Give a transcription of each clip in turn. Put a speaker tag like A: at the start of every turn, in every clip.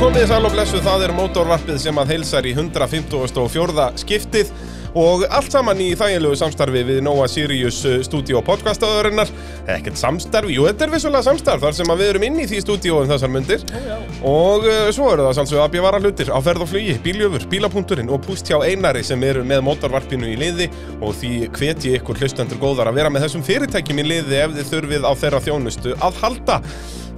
A: Komið sæl og blessu, það er mótorvarpið sem að heilsar í 154. skiptið og allt saman í þægilegu samstarfi við Nóa Sirius stúdíu og podcastaðurinnar. Ekkert samstarfi, jú, þetta er vissulega samstarf þar sem að við erum inn í því stúdíu um þessar mundir. Og uh, svo eru það sannsög að bjöfara hlutir á ferð og flugi, bíljöfur, bílapunkturinn og púst hjá Einari sem eru með mótorvarpinu í liði og því hvetji ykkur hlustendur góðar að vera með þessum fyrirtækjum í liði ef þið þurfið á þeirra þjónustu að halda.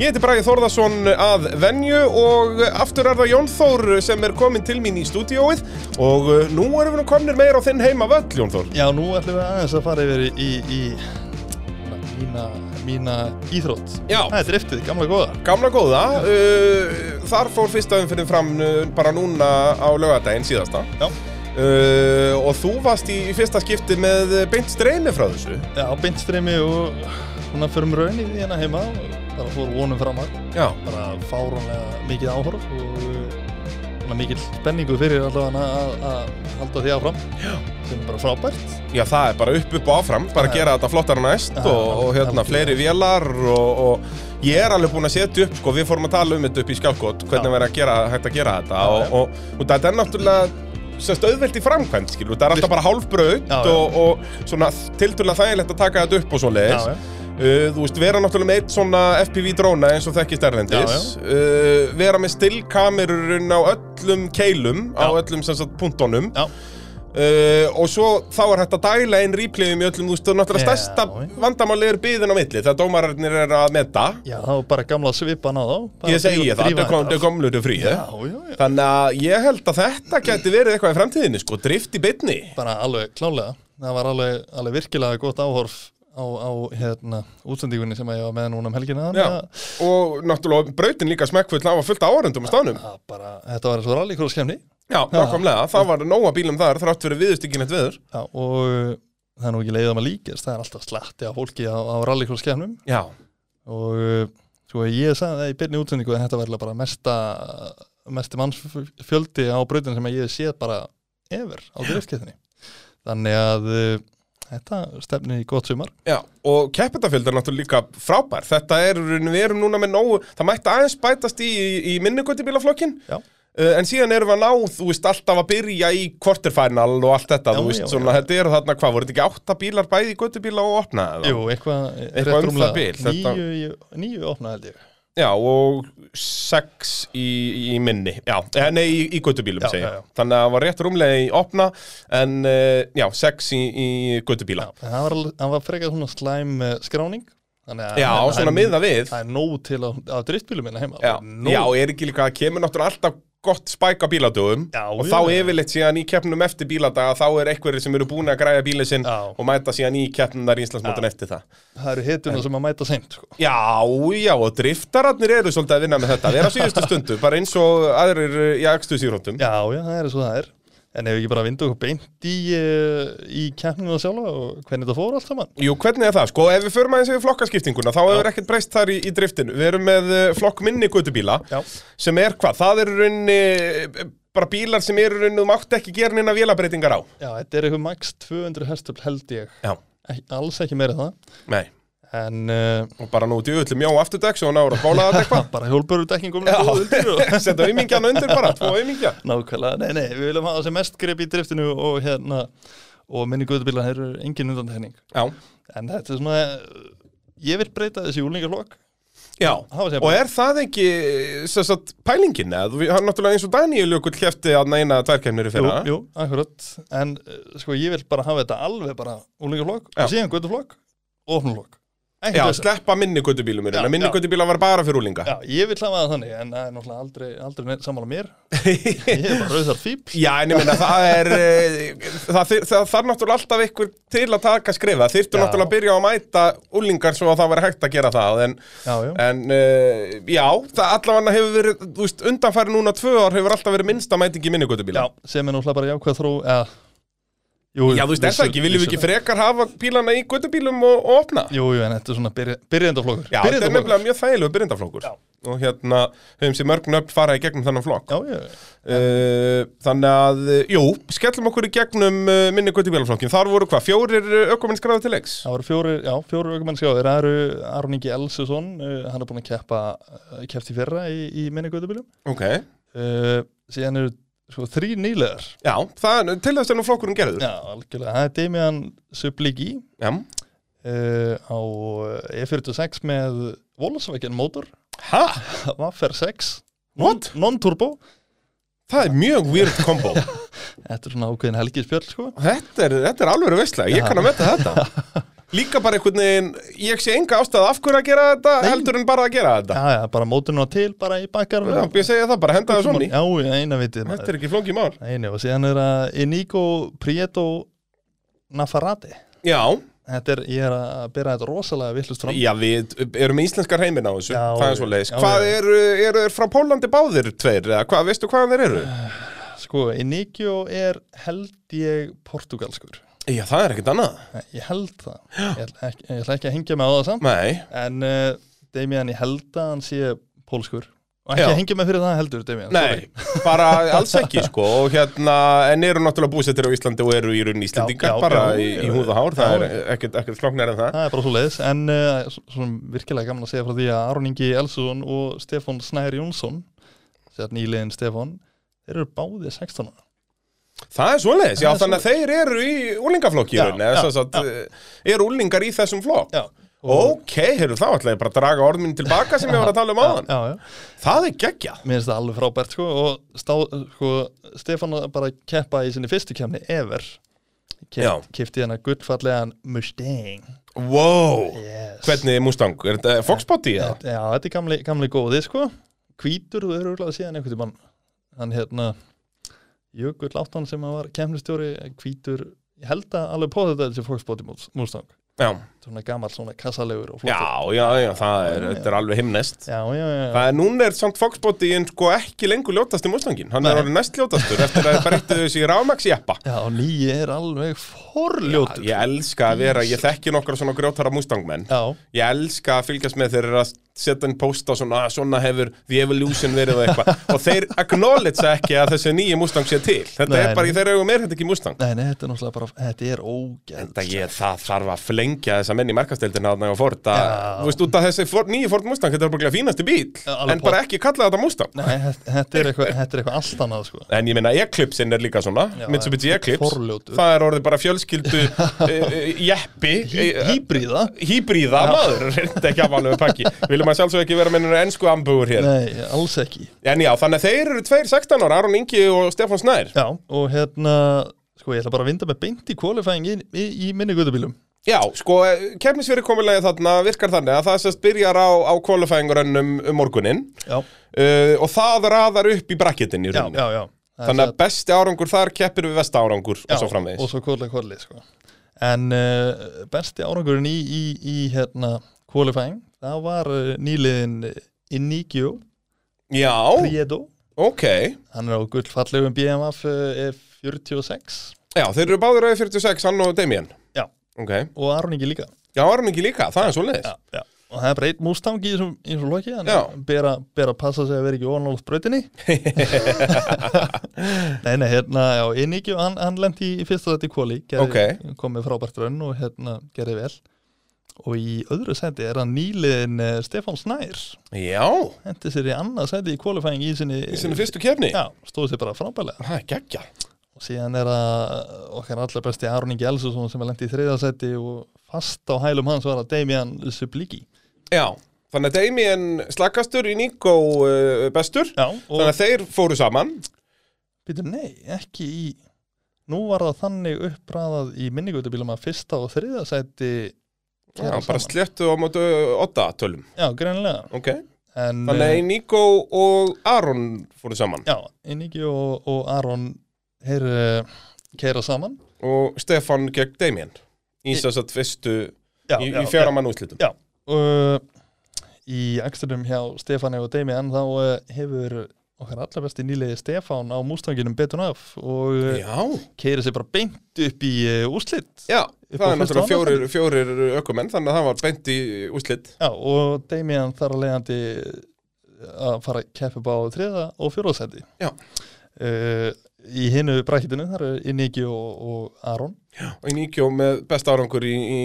A: Ég heiti Bragi Þórðarsson að venju og aftur er það Jón Þór sem er kominn til mín í stúdíóið og uh, nú erum við nú komnir meira á þinn heima völl, Jón Þór.
B: Já, nú ætlum við aðeins að fara yfir í, í, í mína, mína íþrótt.
A: Já.
B: Það er driftið, gamla góða.
A: Gamla góða, uh, þar fór fyrsta umfyrir fram uh, bara núna á lögadaginn síðasta
B: Já.
A: uh, og þú varst í í fyrsta skipti með uh, beint streymi frá þessu.
B: Já, bindstrimi og svona förum raun í því hérna heima og bara fór vonum framar.
A: Já,
B: Bara fárónlega mikið áhorf og eh, svona mikið spenningu fyrir allavega að, að halda því áfram. Já. Sem er bara frábært.
A: já það er bara upp upp og áfram, bara
B: Já.
A: gera þetta flottar og næst
B: Já,
A: og, og hérna
B: algjörlega.
A: fleiri vélar og, og ég er alveg búinn að setja upp, sko, við fórum að tala um þetta upp í skjálkot, hvernig
B: Já.
A: verður að gera, hægt að gera þetta
B: Já, já.
A: og, og, og þetta er náttúrulega semst auðvelt í framkvæmt, skilur, það er alltaf bara hálfbraut
B: Já, já.
A: og, og svona tildulega þægilegt að taka þetta upp og svo leiðis.
B: Já, já.
A: Uh, þú veist, vera náttúrulega með eitt svona FPV dróna eins og þekkist erlendis
B: Já,
A: uh, vera með stillkamerun á öllum keilum á
B: Já.
A: öllum sem sagt punktunum
B: Já.
A: Uh, og svo þá er hægt að dæla einn repleyum í öllum, þú veist, og náttúrulega
B: Já,
A: stærsta
B: já.
A: vandamáli er byðin á milli þegar dómararnir er að meta
B: Já, það var bara gamla svipan á þá. Bara
A: ég segi
B: drífa-
A: það,
B: drífa
A: þetta kom,
B: þetta.
A: þetta kom lutu frí eh?
B: Já, já, já.
A: þannig að ég held að þetta gæti verið eitthvað í framtíðinni, sko, drift í bytni
B: bara alveg klálega það var alveg, alveg virkilega gott áhorf á, á hérna, útsendingunni sem að ég var með núna um helgina
A: Já,
B: þannig að-
A: og náttúrulega brautin líka smekkfull það var fullt af áhörendum á staðnum
B: að bara, þetta var eins og rallycross kemni
A: Já, nákvæmlega, það var nóga bílum þar þrátt fyrir viðustíkinett viður
B: og það er nú ekki leiðum að líkast það er alltaf slatti af fólki á, á rallycross kemnum
A: Já,
B: og svo ég sagði það í byrni útsendingu að þetta var eiginlega bara mesta mesti mannsfjöldi á brautin sem að ég hef séð bara ever á driftkeppninni þannig að uh, þetta stefnir í gott sumar
A: já, og keppetafjöld er náttúrulega líka frábær Þetta er, í rauninni- við erum núna með nógu Það mætti aðeins bætast í, í minnugötibílaflokkin
B: Já.
A: Uh, en síðan erum við að ná, þú veist, alltaf að byrja í quarterfinal og allt þetta,
B: Já,
A: þú veist,
B: já,
A: svona, þetta eru þarna, hvað, voru þetta ekki átta bílar bæði í göttubíla og opna? eða?
B: Jú, eitthvað
A: Sko. Eitthvað um það bil, þetta-
B: Níu, í- níu opnaði held ég
A: Já, og sex í, í minni, já, eh, nei, í, í göttubílum,
B: Já,
A: segi
B: já,
A: ég.
B: já.
A: Þannig að það var rétt rúmlega í opna, en, uh, já, sex í, í göttubíla.
B: Já, en hann var, alveg- hann var frekar svona slæm eh, skráning Þannig að
A: Já,
B: hann-
A: svona
B: hann-
A: miða við.
B: Það er nóg til á, á driftbílum minna heima
A: Já,
B: nóg,
A: já, er ekki líka, kemur náttúrulega alltaf gott spæk á bíladögum
B: Já,
A: og
B: já,
A: þá
B: já.
A: yfirleitt síðan í keppnum eftir bíladaga þá er einhverjir sem eru búin að græja bílinn sinn
B: Já.
A: og mæta síðan í keppnunar í Íslandsmótan eftir það
B: Það eru hituna sem að mæta seint sko.
A: Já, já, og driftararnir eru svolítið að vinna með þetta. Við erum á síðustu stundu, bara eins og aðrir uh, í akstusýrótum.
B: Já, já, það er svo það er En ef við ekki bara vindu okkur beint í, eh, í keppninguna sjálfa og hvernig þetta fór allt saman
A: Jú, hvernig er það? Sko, ef við förum aðeins yfir flokkaskiptinguna, þá hefur ekkert breyst þar í, í driftinu. Við erum með uh, flokk minni gutubíla,
B: Já.
A: sem er hvað? Það eru raunni, bara bílar sem eru raunni, þú mátt ekki gera neina vélabreitingar á.
B: Já, þetta er eitthvað max 200 hestöfl held ég
A: Já.
B: Ek, Alls ekki meira en það
A: Nei,
B: En uh,
A: og bara nú djúvöldum já á afturdeks og náður að bóla þetta eitthvað.
B: bara hjólbörudekking um
A: Já.
B: og undir og
A: Setta aumingjana undir bara, tvo aumingja.
B: Nákvæmlega, nei, nei, við viljum hafa sem mest grip í driftinu og hérna og minni guðbílar eru engin undantekning
A: Já.
B: en þetta er svona ég vil breyta þessi úlingarlokk
A: Já,
B: Hafa sig að
A: og
B: bæta.
A: er það ekki sem sagt, pælingin eða? Þú- Hann náttúrulega eins og Daniel Jökull hefti að neina tværkæmnir í
B: jú,
A: fyrra.
B: jú, akkurat en eh, sko ég vil bara hafa þetta alveg bara úlingarlokk
A: Já.
B: og síðan guðbílarlokk og ofnulokk
A: Já, sleppa minni göttubílum
B: Já,
A: minni
B: já.
A: göttubíla var bara fyrir úlinga.
B: Já, ég vil hafa það þannig, en það er náttúrulega aldrei, aldrei neitt sammála mér. Ég er bara rauðar fíbl.
A: Já, en ég meina, það er, eh, það, þyr- það þarf náttúrulega alltaf ykkur til að taka skrifa. Þyrftu
B: Já.
A: náttúrulega að byrja á að mæta úlingar svo að það væri hægt að gera það. En,
B: Já, já.
A: en uh, já, það allavega hefur verið, þú veist, undanfæri núna tvö ár hefur alltaf verið minnsta mætingi minni
B: Já,
A: göttubíla.
B: sem er náttúrulega bara jákvæð þró, eða... Jú,
A: Já, þú veist, er það ekki, viljum við ekki frekar hafa bílana í göttubílum og, og opna?
B: Jú, jú, en þetta er svona byrj, byrjendaflokkur.
A: Já, þetta er nefnilega mjög þægilegu byrjendaflokkur
B: Já.
A: og hérna höfum sér mörg nöfn fara í gegnum þannan flokk
B: Já, já, já.
A: uh, Þannig að, uh, jú, skellum okkur í gegnum uh, minni gutti bílaflokkin Þar voru hvað, fjórir ökuminn skráði til leiks?
B: Það voru fjóri, já, fjóri aukumenn skjáðir, það eru eh, Aron Ingi Elsusson, uh, hann er búinn að keppa, uh, keppt í fyrra í, í minni guðubílum.
A: Ok,
B: uh, síðan eru sko, þrý nýlegar
A: Já, það, til þess er nú flokkurinn gerður.
B: já, algjörlega, það er Damian Subligi
A: Já.
B: uh, á eh, E E46 með Volkswagen motor
A: Ha?
B: Vaffer 6
A: What?
B: non- non-turbo
A: Það er mjög weird combo.
B: þetta er svona ákveðin helgispjöld sko
A: þetta, er, þetta er alveg veistlega, ég
B: Já.
A: kann að metta þetta. Líka bara einhvern veginn, ég sé enga ástæð af hverju að gera þetta,
B: Nei.
A: heldur en bara að gera þetta.
B: já, já, bara móturinn á til, bara í bakkar
A: Já, ég segja það bara, henda það svona í.
B: já, já, eina vitið
A: Þetta
B: maður
A: er ekki flókið mál.
B: Einu, og síðan er að Inigo Prieto Nafarati
A: Já,
B: þetta er, ég er að byrja þetta rosalega villust fram
A: já, við erum með íslenskar heiminn á þessu,
B: Já,
A: það er svo leiðis.
B: já,
A: Hvað
B: já.
A: eru, eru er frá Pólandi báðir tveir, eða hvað, veistu hvaðan þeir eru?
B: sko, Inigo er held ég portugalskur
A: Já, það er ekkert annað.
B: ég held það, ég ætla ekki, ég ætla ekki að hengja mig á það samt
A: Nei,
B: En uh, Damian, ég held að hann sé pólskur Og
A: Já.
B: ekki að hengja mig fyrir það heldur, Damian
A: Nei, bara alls ekki sko og hérna, en eru náttúrulega búsettir á Íslandi og eru í raun
B: Já,
A: Íslandingar
B: já,
A: bara
B: já,
A: í,
B: já.
A: í húð og hár, það
B: Já,
A: er ekkert, ekkert flóknar en það
B: Það er bara svo leiðis En uh, svona virkilega gaman að segja frá því að Aron Ingi Elsson og Stefán Snær Jónsson Sér nýliðin Stefán Þeir eru báðið 16 ára
A: Það er svoleiðis, já
B: Það er
A: þannig að þeir eru í úlingaflokki í
B: Já,
A: raun, eða
B: já,
A: svo að eru úlingar í þessum flokk
B: Já
A: Ok, heyrðu, þá ætla ég bara að draga orð mín tilbaka sem ég var að tala um áðan
B: Já, já,
A: Það er geggja
B: mér finnst það alveg frábært sko, og stá, sko, Stefán var bara að keppa í sinni fyrstu kemni ever
A: Já.
B: Kipti hennar gullfallegan Mustang
A: Wow,
B: yes.
A: hvernig er Mustang, er þetta Foxbody?
B: Já,
A: eða?
B: þetta er gamli, gamli góði sko Hvítur þú eru úrlega síðan einhvern tímann Hann hérna Jökull áttan sem hann var kemnistjóri Hvítur, ég held að alveg på þetta þessi fólksbóti Mustang
A: Já,
B: Svona gamall, svona kassalegur og
A: já,
B: flottur
A: já, já, það er, þetta er alveg himnest
B: já, já, já, já.
A: Það er núna er samt Foxbody-in sko ekki lengur ljótasti Mustangin, hann er
B: Nei.
A: orðið næst ljótastur eftir að breyttu þessi rámaksjeppa.
B: já nýi er alveg forljótur
A: Ég elska að vera, ég þekki nokkra svona grjótara Mustangmenn,
B: já,
A: ég elska að fylgjast með þeir eru að setja inn posta svona, að svona hefur The Evolution verið og eitthvað og þeir acknowledge ekki að þessi nýji Mustang sé til, þetta
B: Nei,
A: er bara
B: nei.
A: í þeirra augum er þetta ekki Mustang.
B: nei, nei, þetta er náttúrulega bara Þetta er ógæð
A: Þetta ég, það þarf að flengja þessa menn í markasteildin að það Ford að,
B: Já.
A: þú veist, út af þessi Ford, nýji Ford Mustang, þetta er bara fínasti bíl,
B: Já, alveg
A: en bara ekki kalla þetta Mustang.
B: Nei, þetta þetta er eitthvað þetta er eitthvað allt annað sko
A: En ég meina Eclipse-in er líka svona
B: Já,
A: Mitsubishi
B: já,
A: Eclipse
B: forljótur.
A: Það er orðið bara fjölskyldu uh, Jeppi eh,
B: Hýbríða
A: Hýbríða maður Þetta er ekki afalegu pakki Viljum að sjálfsög ekki vera með ennur ennsku ambúur hér
B: Nei, alls ekki
A: En já, þannig að þeir eru tveir 16 ára Aron Ingi og Stefán Snær
B: Já, og hérna Sko, ég ætla bara að vinda með beint í kvalifæðingin í, í minni guðubílum
A: Já, sko, kefnisfyrir komulegið þarna virkar þannig að það sérst byrjar á, á kvalifæðingurönnum um morguninn
B: Já,
A: uh, og það raðar upp í brakketin í
B: já,
A: rauninni
B: já, já. Það er
A: Þannig að
B: satt.
A: besti árangur þar keppir við vesta árangur
B: Já,
A: og svo framvegis
B: og svo kvöldlega kvöldi sko. en uh, besti árangurinn í, í, í hérna qualifying, það var uh, nýliðin Inigio
A: Já,
B: Prieto
A: ok
B: hann er á gullfallegum BMF uh, F46
A: Já, þeir eru báður auðvitað 46, hann og Damien
B: Já.
A: Ok,
B: og Aron ekki líka
A: já, Aron ekki líka, það er svo leiðis
B: já, já. og það er bara einn mústangi í þessum- í þessum loki þannig
A: Já.
B: að bera, bera að passa sig að vera ekki óanálað brautinni nei, nei, hérna, já, Inigio hann, hann lendi í fyrsta þetta í kvali
A: Ok.
B: kom með frábært raun og hérna gerði vel og í öðru seti er hann nýliðin eh, Stefán Snær
A: Já,
B: hendi sér í annað seti í kvalifæðing í sinni,
A: í sinni fyrstu kefni
B: já, stóði sér bara frábælega
A: Það er geggja
B: og síðan er að okkar allar besti Aron Ingi Elsusson sem er lendi í þriða seti og fast á hælum hans var að Damian Subliki
A: Já, þannig að Damien slakastur í Nico uh, bestur
B: já, og
A: Þannig að þeir fóru saman
B: Býtum, nei, ekki í Nú var það þannig uppræðað í minningutubílum að fyrsta og þriða sæti
A: Já,
B: fara
A: bara
B: saman.
A: sléttu á mótu 8 tölum
B: Já, greinilega
A: Ok,
B: en,
A: þannig að
B: eh,
A: Nico og Aron fóru saman
B: Já, Inigi og, og Aron heyr keira saman
A: Og Stefan gegn Damien Í þess að fyrstu,
B: Já,
A: í, í
B: já,
A: fjara mann úrslitum
B: Já, og eh, í eksternum hjá Stefani og Damian þá eh, hefur okkar allra besti nýliði Stefán á mústanginum betun af og
A: Já,
B: keiri sér bara beint upp í eh, úrslit
A: já,
B: Upp
A: það
B: á
A: er
B: fyrstu
A: náttúrulega
B: annað
A: fjórir, fjórir ökumenn Þannig að það var beint í úrslit
B: Já, og Damian þar að leiðandi eh, að fara að keppa upp á þriða og fjóraðsendi.
A: Já.
B: í hinu brækitinu, þar er Iniki og, og Aron
A: og Níkjó með besta árangur í, í,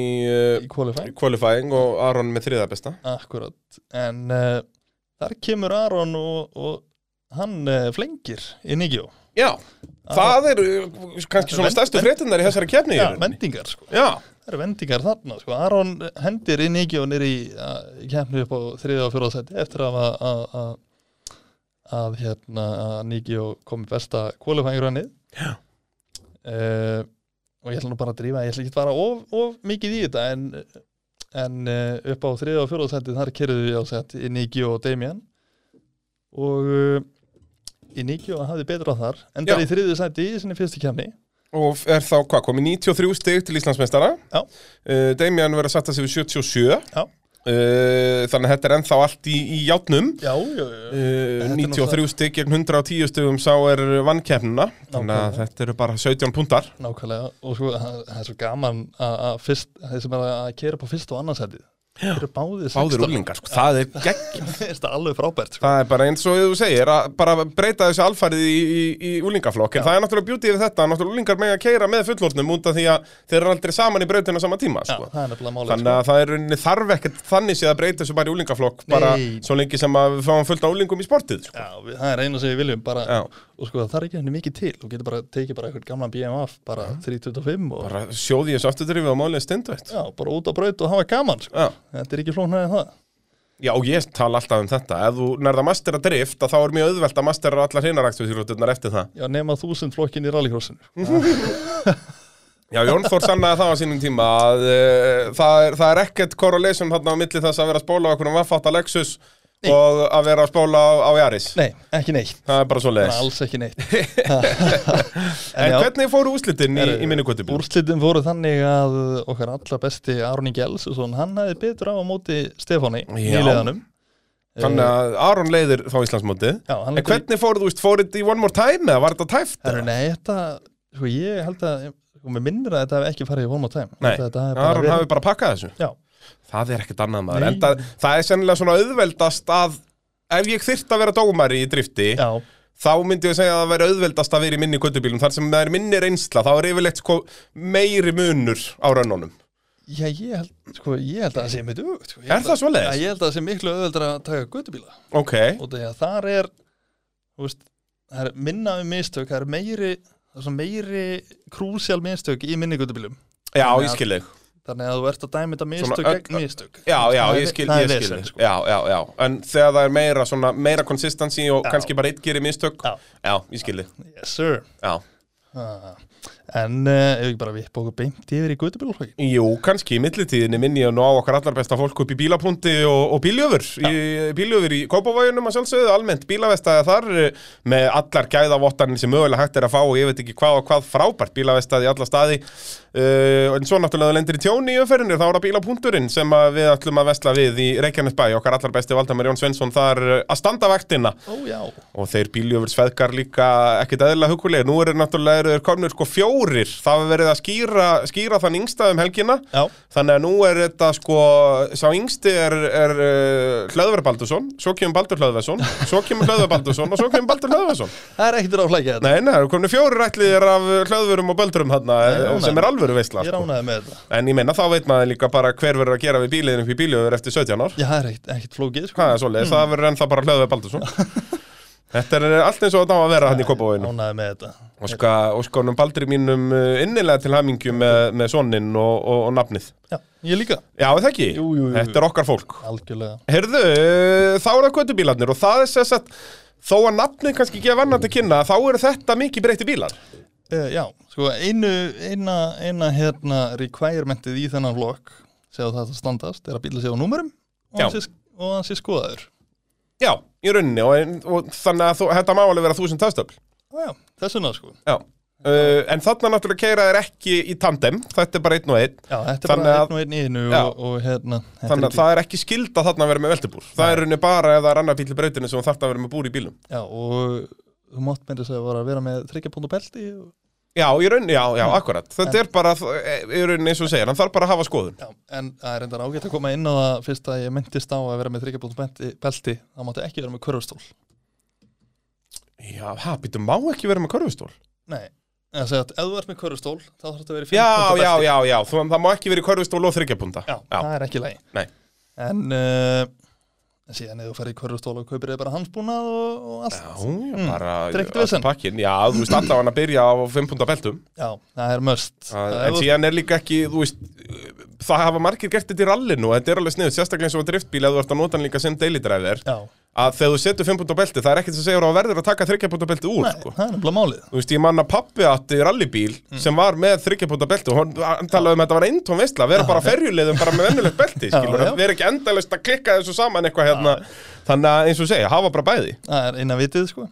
B: í qualifying,
A: uh, qualifying og Aron með þriða besta
B: eh, akkurat. En uh, þar kemur Aron og, og hann uh, flengir í Nigjó
A: Já, það eru uh, kannski svona
B: Vend-
A: stærstu fréttinnar í þessari kefni
B: Já, vendingar sko
A: Já,
B: Það eru vendingar þarna sko Aron hendir í Nigjó nýri í kemni upp á þriða og fjóra seti eftir að að- að að, að hérna að Nigjó komi besta kólefængrunnið
A: Já.
B: uh, og ég ætla nú bara að drífa ég ætla ekki að fara of, of mikið í þetta en, en uh, upp á þriða og fjóra seti þar kerðu við á sett í Nigjó og Damien og uh, í Nigjó hafði betra þar endar
A: Já.
B: í þriðið seti í sinni fyrstu kemni
A: og er þá hvað, komið 93 stig til Íslandsmeistara
B: Já.
A: uh, Damian verður að satta sig við 77
B: Já.
A: Uh, þannig að þetta er ennþá allt í, í játnum
B: Já, já, já
A: Uh,
B: Þetta er
A: 93 stig gegn 110 stigum sá er vannkeppnina þannig að
B: Nákvæmlega.
A: þetta eru bara 17 puntar
B: Nákvæmlega, og svo það það er svo gaman að að fyrst, þeir sem er að kera upp á fyrst og annarsætið, þeir eru báðir
A: báðir
B: 16.
A: úlingar, sko, það er gegn
B: Mér finnst það er alveg frábært, sko.
A: það er bara eins og þú segir að bara breyta þessu alfarið í, í, í úlingaflokk en það er náttúrulega bjútið við þetta, náttúrulega úlingar með að keira með fullorðnum út af því að þeir eru aldrei saman í breytinu á sama tíma,
B: Já,
A: sko
B: það er nefnilega málið,
A: Þannig
B: sko.
A: að það er rauninni þarf ekkert þannig séð að breyta þessu bara í úlingaflokk bara
B: Nei.
A: svo lengi sem að við fáum fullt á úlingum í sportið sko.
B: Já, við, það er eina sem við viljum bara,
A: Já.
B: og sko það er ekki henni mikið til, þú getur bara tekið bara eitthvað gamlan BMF, bara 325 og
A: bara sjóði þessu afturdrifið á málið stendvætt
B: já, bara út á braut og hafa gaman, sko.
A: Já.
B: Þetta er ekki flóknar en það.
A: Já, og ég tala alltaf um þetta ef þú nærða mastera drift að þá er mjög auðvelt að mastera allar hinaraktuðsíkroturnar eftir það
B: Já, nema þúsund flokkin í rallycrossinu. sko.
A: Já, Jón Þór sannaði það á sínum tíma að uh, það, er, það er ekkert correlation þarna á milli þess að vera að spóla á einhvern vaffátt að Lexus og að vera að spóla á, á Jaris
B: Nei, ekki neitt.
A: Það er bara svo
B: Bara
A: leiðis
B: Alls ekki neitt.
A: En hvernig fóru úslitin í,
B: Herru,
A: í minni kvötubíl?
B: Úrslitin fóru þannig að okkar allra besti Aron Ingi Elsusson, hann hafði betur á á móti Stefáni í
A: Já.
B: leðanum.
A: Þannig að Aron leiðir þá Íslandsmótið
B: Já, hann
A: En hvernig fóruð þú veist, fóruð þið í One More Time eða var þetta tæft?
B: Herru, nei, þetta, sko ég held að, sko mér minnir að þetta hef ekki farið í One More Time.
A: Nei,
B: Þetta- þetta hafi bara
A: Aron
B: verið-
A: hafi bara pakkað þessu
B: Já,
A: Það er ekkert annað maður
B: Nei.
A: En það, það er sennilega svona auðveldast að Ef ég þyrt að vera dómari í drifti
B: já,
A: Þá myndi ég segja að það veri auðveldast að vera í minni kvöldubílum Þar sem það er minni reynsla Þá er yfirleitt sko meiri munur á rönnunum
B: já, ég held, sko ég held að það sé mjög dugt. Sko, Ég
A: Er
B: held
A: það
B: að-
A: svoleiðis?
B: Já, ég held að það sé miklu auðveldur að taka göttubíla.
A: Ok,
B: Og þegar þar er, þú veist, það er minna um mistök, það er meiri, það er svona meiri krúsjál mistök í minni göttubílum.
A: já
B: Þannig
A: ég
B: að-
A: skil þig
B: Þannig að þú ert að dæmi þetta mistök
A: öll-
B: gegn mistök
A: Já, já,
B: Það er-
A: ég skil,
B: það
A: ég
B: er
A: skil
B: vesen,
A: þig
B: sko.
A: Já, já, já En þegar það er meira svona Meira konsistansi og
B: Já.
A: kannski bara eitt gerir mistök
B: Já.
A: já ég skil þig
B: Yes sir
A: Já
B: ah. En uh, ef ekki bara vippa okkur beint yfir í gutabílflokkin
A: Jú, kannski í millitíðinni minni ég nú á okkar allar besta fólk upp í bílapunkti og, og bíljöfur í, Bíljöfur í Kópavoginum að sjálfsögðu, almennt bílavestaði þar eh, með allar gæðavottanir sem mögulega hægt er að fá og ég veit ekki hvað og hvað frábært bílavestaði í alla staði uh, en svo náttúrulega þú lendir í tjóni í umferðinni þá er það bílapunkturinn sem að við ætlum að vesla við í Reykjanesbæ okkar allar besti Valdamar Jón Svensson þar eh, að standa vaktina
B: Ó já
A: og þeir bíljöfur sveðgar líka ekkit eðlilega hugulega, nú eru náttúrulega eru þeir komnir sko fjórir, það er verið að skýra, skýra þann yngsta um helgina
B: Já
A: þannig að nú er þetta sko sá yngsti er, er uh, Hlöðver Baldursson, svo kemur Baldur Hlöðversson svo kemur Hlöðver Baldursson og svo kemur Baldur Hlöðversson
B: Það er ekkert að flækja þetta
A: Nei, nei, það eru komin fjórir ætliðir af Hlöðverum og Böldurum þarna
B: Ég er
A: eh,
B: ánægður.
A: sem er alvöru veistla
B: Ég
A: sko.
B: ránaði með þetta
A: en ég meina þá veit maður líka bara hver verður að gera við bíliðin upp í bíliður eftir 17 ár
B: Já, það er ekkert, ekkert flókið sko.
A: hvað er svoleiðis, það verður ennþá bara Hlöðver Baldursson Þetta er allt eins og þetta á að vera hann í Kópavóinu
B: Ránaði með þetta
A: og ska, og skonum Baldri mínum eh, innilega til hamingju með, með sonnin og, og, og nafnið
B: Já, ég líka
A: Já, er það ekki,
B: Jú, jú, jú.
A: þetta er okkar fólk
B: Algjörlega
A: Herðu, eh, þá eru það göttubílarnir og það er sess að þó að nafnið kannski gefa annan til kynna þá eru þetta mikið breyti bílar
B: uh, Já, sko einu, eina, eina hérna requirementið í þennan flokk segja það að standast er að bíla sig á númurum og
A: Já.
B: hann sé, og hann sé skoðaður
A: Já, í rauninni og, og þannig að þú, þetta má alveg vera þúsund töstöfl
B: Ó, Já, þessuna sko
A: Já Uh, en þarna náttúrulega keira þeir ekki í tandem þetta er bara einn og einn
B: Já, þetta er
A: Þannig
B: bara
A: að-
B: einn og einn í einu
A: Já.
B: og, og hérna þetta er
A: þannig
B: ekki-
A: að það er ekki skilda þarna að vera með veltibúr það er í rauninni bara ef það er annar bíl í brautinu sem þú þarft að vera með búr í bílum
B: Já, og þú mátt með þess að vera að vera með þryggjapóndu belti og...
A: já, í rauninni, já, já, akkurat þetta er bara, eh, í rauninni eins og þú segir hann þarf bara að hafa skoðun
B: Já, en það er reyndar ágætt að koma inn á það fyrst að ég myndist á að vera með þryggjapóndu belti, belti þá máttu ekki vera með körfustól
A: já, hæ, býtum, má ekki vera með körfustól
B: Nei, en það segja að ef þú ert með körfustól þá þarf þetta að vera í
A: já,
B: fimmpundu
A: já,
B: belti
A: já, já, þú, það má ekki vera í körfustól og þryggjapunta
B: já, það er ekki lægi
A: Nei.
B: En uh, en síðan eða þú ferði í hverjustóla og kaupir þér bara hansbúnað og, og allt
A: Já,
B: já.
A: já,
B: Mm,
A: bara
B: drekkt
A: öll
B: vesen.
A: pakkin, já, þú veist allavega að byrja á 5 punda beltum
B: það er möst
A: Að- En síðan er líka ekki, þú veist, það hafa margir gert þetta í rallinu og þetta er alveg sniðut, sérstaklega eins og á driftbíl að þú ert að nota hann líka sem daily driver
B: já,
A: að þegar þú setur 5 punda belti, það er ekkert sem segir að þú verður að taka 3 punda belti úr,
B: nei,
A: sko
B: það er nefnilega málið
A: Þú veist, ég manna pappi átti rallybíl
B: Mm.
A: sem var með 3 punda belti og hann- hann talaði um að þetta var eintón veistla, að vera bara á ferjuleiðum bara með vennulegt belti,
B: Já,
A: skilur,
B: já.
A: vera ekki endalaust að klikka þessu saman eitthvað hérna, þannig að eins og ég segi, hafa bara bæði.
B: það er eina vitið sko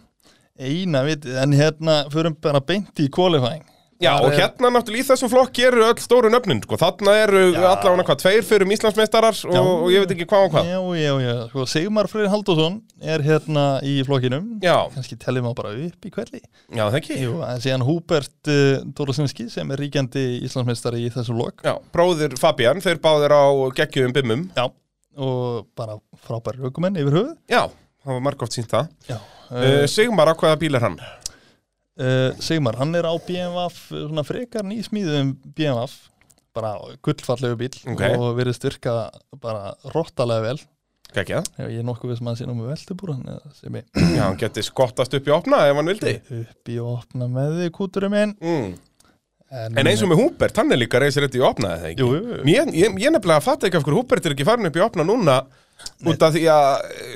B: eina vitið, en hérna förum bara beint í qualifying
A: Já,
B: Þar
A: og
B: er-
A: hérna náttúrulega í þessum flokki eru öll stóru nöfnin, sko, þarna eru
B: Já.
A: allavega hvað, tveir fyrir um Íslandsmeistarar og,
B: Já.
A: og ég veit ekki hvað og hvað.
B: Já, já, já, sko, Sigmar Freyr Haldursson er hérna í flokkinum
A: Já.
B: kannski teljum á bara upp í hverli
A: Já, það ekki.
B: Jú, en síðan Húbert uh, Dórasinski sem er ríkjandi Íslandsmeistari í þessu lok
A: Já, bróðir Fabian, þeir báðir á geggjum bimmum.
B: Já, og bara frábæri aukumenn yfir höfuð
A: Já, það var margóft sínt það.
B: Já,
A: Uh,
B: uh,
A: Sigmar, á hvaða bíl er hann?
B: uh, Sigmar, hann er á BMWF svona frekar nýsmíðum BMWF bara gullfallegu bíl
A: Ok.
B: og verið styrka bara rottalega vel
A: Geggjað.
B: Já, ég er nokkuð viss maður að sé nú með veltubúr hann eða sem ég
A: Já, hann geti skottast upp í opna ef hann vildi.
B: upp í og opna með þig kúturum minn
A: Mm. En eins og með Húbert, hann er líka reysir þetta í opna, eða ekki?
B: Jú, jú, jú.
A: Ég, ég, ég nefnilega fatta ekki af hverju Húbert er ekki farin upp í opna núna út af því að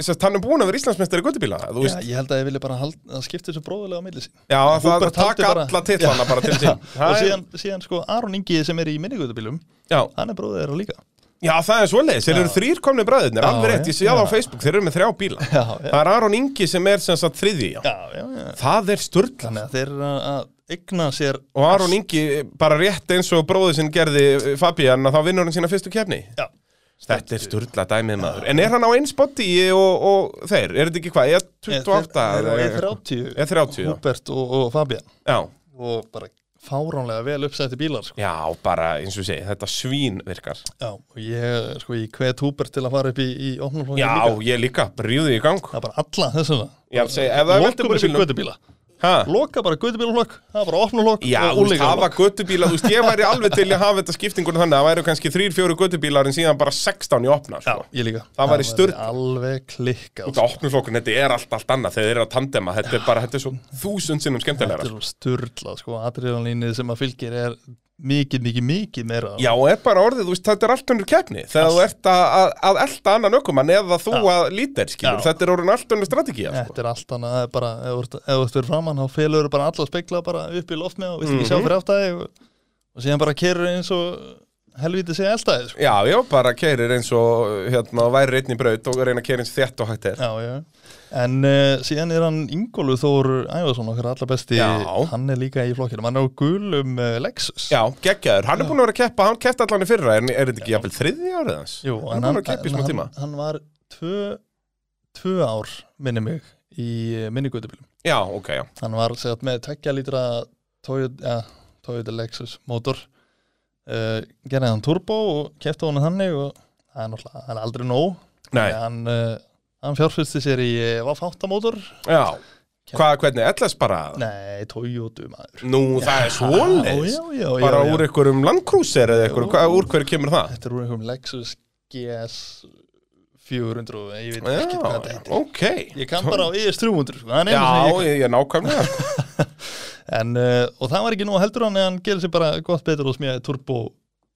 A: sest, hann er búin að vera Íslandsmeistari guttubíla, þú veist,
B: Já, ég held að ég vilja bara hald, að skipta þessu bróðulega á milli sín
A: Já, það
B: Húbert
A: taka
B: haldi bara-
A: alla titlana bara til sín
B: og
A: Það er-
B: síðan, síðan sko Aron Ingi sem er í minnigöðubílum
A: já.
B: hann er bróðið þeirra líka
A: já, það er svoleiðis, þeir eru
B: Já.
A: þrýr komni bræðirnir
B: Já,
A: Alveg rétt,
B: já,
A: ég sé það á
B: já.
A: Facebook, þeir eru með þrjá bíla
B: já, já,
A: Það er Aron Ingi sem er sem sagt þriði já.
B: já, já, já.
A: Það er sturglan
B: þannig að þeir eru að- að egna sér
A: Og Aron Ingi bara rétt eins og bróðið sinn gerði eh, Fabian að þá vinnur hann sína fyrstu kefni
B: já,
A: Þetta er sturgla dæmið maður En er hann á eins body og, og þeir? Er þetta ekki hvað? Ég
B: þeir-
A: 28
B: þeir eru á
A: eða eitthvað?
B: E30
A: Ég 30, já.
B: Húbert og, og Fabian
A: já
B: og bara fáránlega vel uppsætti bílar sko.
A: Já, bara eins og ég segi, þetta svín virkar
B: já, og ég, sko, ég hvet Húbert til að fara upp í, í opnumflóðin
A: Já,
B: líka
A: ég líka, brjúði í gang
B: það er bara alla þessum
A: Já, segi, ef það er
B: lokum
A: veltubúri
B: þessu
A: bílum
B: gödubíla
A: Hæ?
B: loka bara gödubílaflokk, það er bara opnulokk
A: Já,
B: og
A: þú veist, hafa
B: úlíkarlokk
A: göttubíla, þú veist, ég væri alveg til að hafa þetta skiptingunum þannig, að það væri kannski 3-4 göttubílar en síðan bara 16 í opna,
B: já,
A: sko.
B: ég líka
A: Það væri sturl.
B: alveg klikkað sko.
A: Út af opnuflokkun, þetta er allt, allt annað, þegar þeir eru að tandema, þetta er bara, þetta er svo þúsund sinnum
B: Þetta er
A: skemmtilegra.
B: svo sturla, sko, adrenalínið sem að fylgir er mikið, mikið, mikið meira
A: Já, og er bara orðið, þú veist, þetta er allt önnur keppni, þegar þú ert að, að, að elta annan ökumann eða þú
B: Já.
A: að lítir, skilur,
B: Já.
A: þetta er orðin allt önnur strategía, sko.
B: Þetta er allt annað, það er bara, ef þú ert- ef þú ert fyrir framann þá felur þú bara alla spekla bara upp í loft með og vilt ekki sjá
A: Mhm.
B: fyrir áttæði og, og síðan bara kerur eins og helvítið segja eldaði, sko
A: Já, já, bara keirir eins og, hérna, væri einn í braut og reyna að keira eins þétt og hægt er.
B: Já, já, en uh, síðan er hann Ingólu Þór Ævarsson, okkar allar besti
A: Já.
B: hann er líka í flokkinum, hann er á gulum uh, Lexus
A: Já, geggjaður, hann er búin að vera að keppa, hann keppti allan í fyrra, en er þetta ekki jafnvel þriðja árið hans?
B: Jú,
A: hann er búin að keppa í smá tíma.
B: hann, hann var tvö, tvö ár, minni mig, í eh, minnigötubílum
A: Já, ok, já.
B: hann var segjart, með tekja lítra Toyota, ja, Toyota Lexus mótor uh, gerði hann turbo og kefti honum þannig og það er náttúrulega, það er aldrei nóg
A: Nei,
B: hann, uh, hann fjárfyrsti sér í uh, Vafáta mótor
A: Já, hvað, hvernig, ellers bara
B: nei, Toyota maður
A: Nú, það er
B: já,
A: svoleiðis
B: já, já,
A: Bara
B: já,
A: úr einhverjum landkrúsir eða einhverjum,
B: Jú.
A: hvað, úr hverju kemur það?
B: þetta er úr einhverjum Lexus GS 400 og ég veit ekki hvað þetta
A: Já,
B: heitir
A: ok
B: ég kann bara á ES 300 sko, það er einu
A: Já,
B: sem ég kann.
A: ég, ég nákvæmlega sko.
B: en, uh, og það var ekki nóg heldur hann en hann gerði sér bara gott betur og smíðaði turbo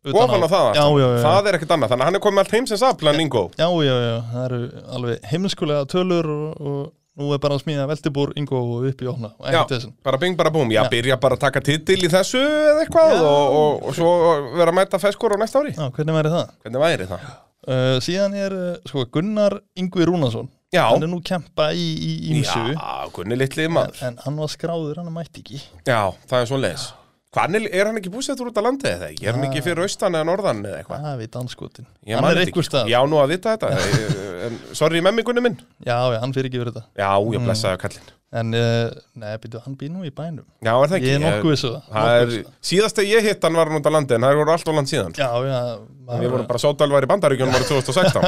B: utan
A: Ofan á það,
B: já, já, já, já.
A: það er ekkert annað Þannig að hann er komið með allt heimsins að planingo
B: Já, já, já, það eru alveg heimskulega tölur og, og nú er bara að smíða veltibúr, yngó og upp í ofna og
A: Já,
B: ekkert þessin.
A: bara bing bara búm Já,
B: Já.
A: byrja bara að taka titil í þessu eða eitthvað
B: Já.
A: og, og, og svo vera að mæta feskur á næsta ári
B: Já, hvernig væri það?
A: Hvernig væri það?
B: Uh, síðan er, uh, sko, Gunnar Yngvi Rúnason,
A: Já,
B: hann er nú kempa í, í ímsu,
A: já, Gunni litli maður
B: en hann var skráður, hann mætti ekki.
A: Já, það er svoleiðis Hvað er, er hann ekki búsettur út á landið eða ekki? Er hann ekki fyrir austan eða norðan eða eitthvað?
B: Það veit anskotin.
A: Ég
B: hann
A: man
B: er
A: þetta
B: einhver
A: ekki.
B: stað.
A: Já, nú að vita þetta Ég- en, Sorry, memmingunni minn
B: Já, já, hann fyrir ekki verið þetta.
A: Já, ég blessaði að kallin
B: En, uh, neða, byrju, hann býr nú í bænum.
A: Já, er það ekki?
B: Ég er nokkuð vissu það.
A: Það
B: nokkuð
A: er,
B: viss um það.
A: síðast þegar ég hitt hann var hann út á landi en það voru allt á land síðan
B: Já, já,
A: Við
B: maður,
A: vorum bara sótalvar í bandaríkjunum árið 2016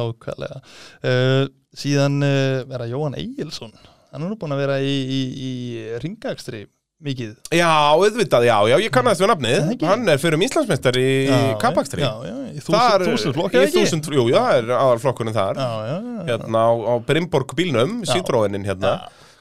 B: nákvæmlega. eh, Uh, síðan uh, vera Jóhann Egilson, hann er nú búinn að vera í, í, í ringakstri mikið
A: Já, auðvitað, já, já, ég kannast við
B: Það
A: nafnið
B: ekki.
A: Hann er fyrir um Íslandsmeistar í
B: Já,
A: Kappakstri
B: Já, já, í þúsund, þúsund flokka
A: Í þúsund, jú, já, það er aðalflokkurinn þar
B: Já, já, já
A: Hérna á, á Brimborg bílnum,
B: Já.
A: sítróininn hérna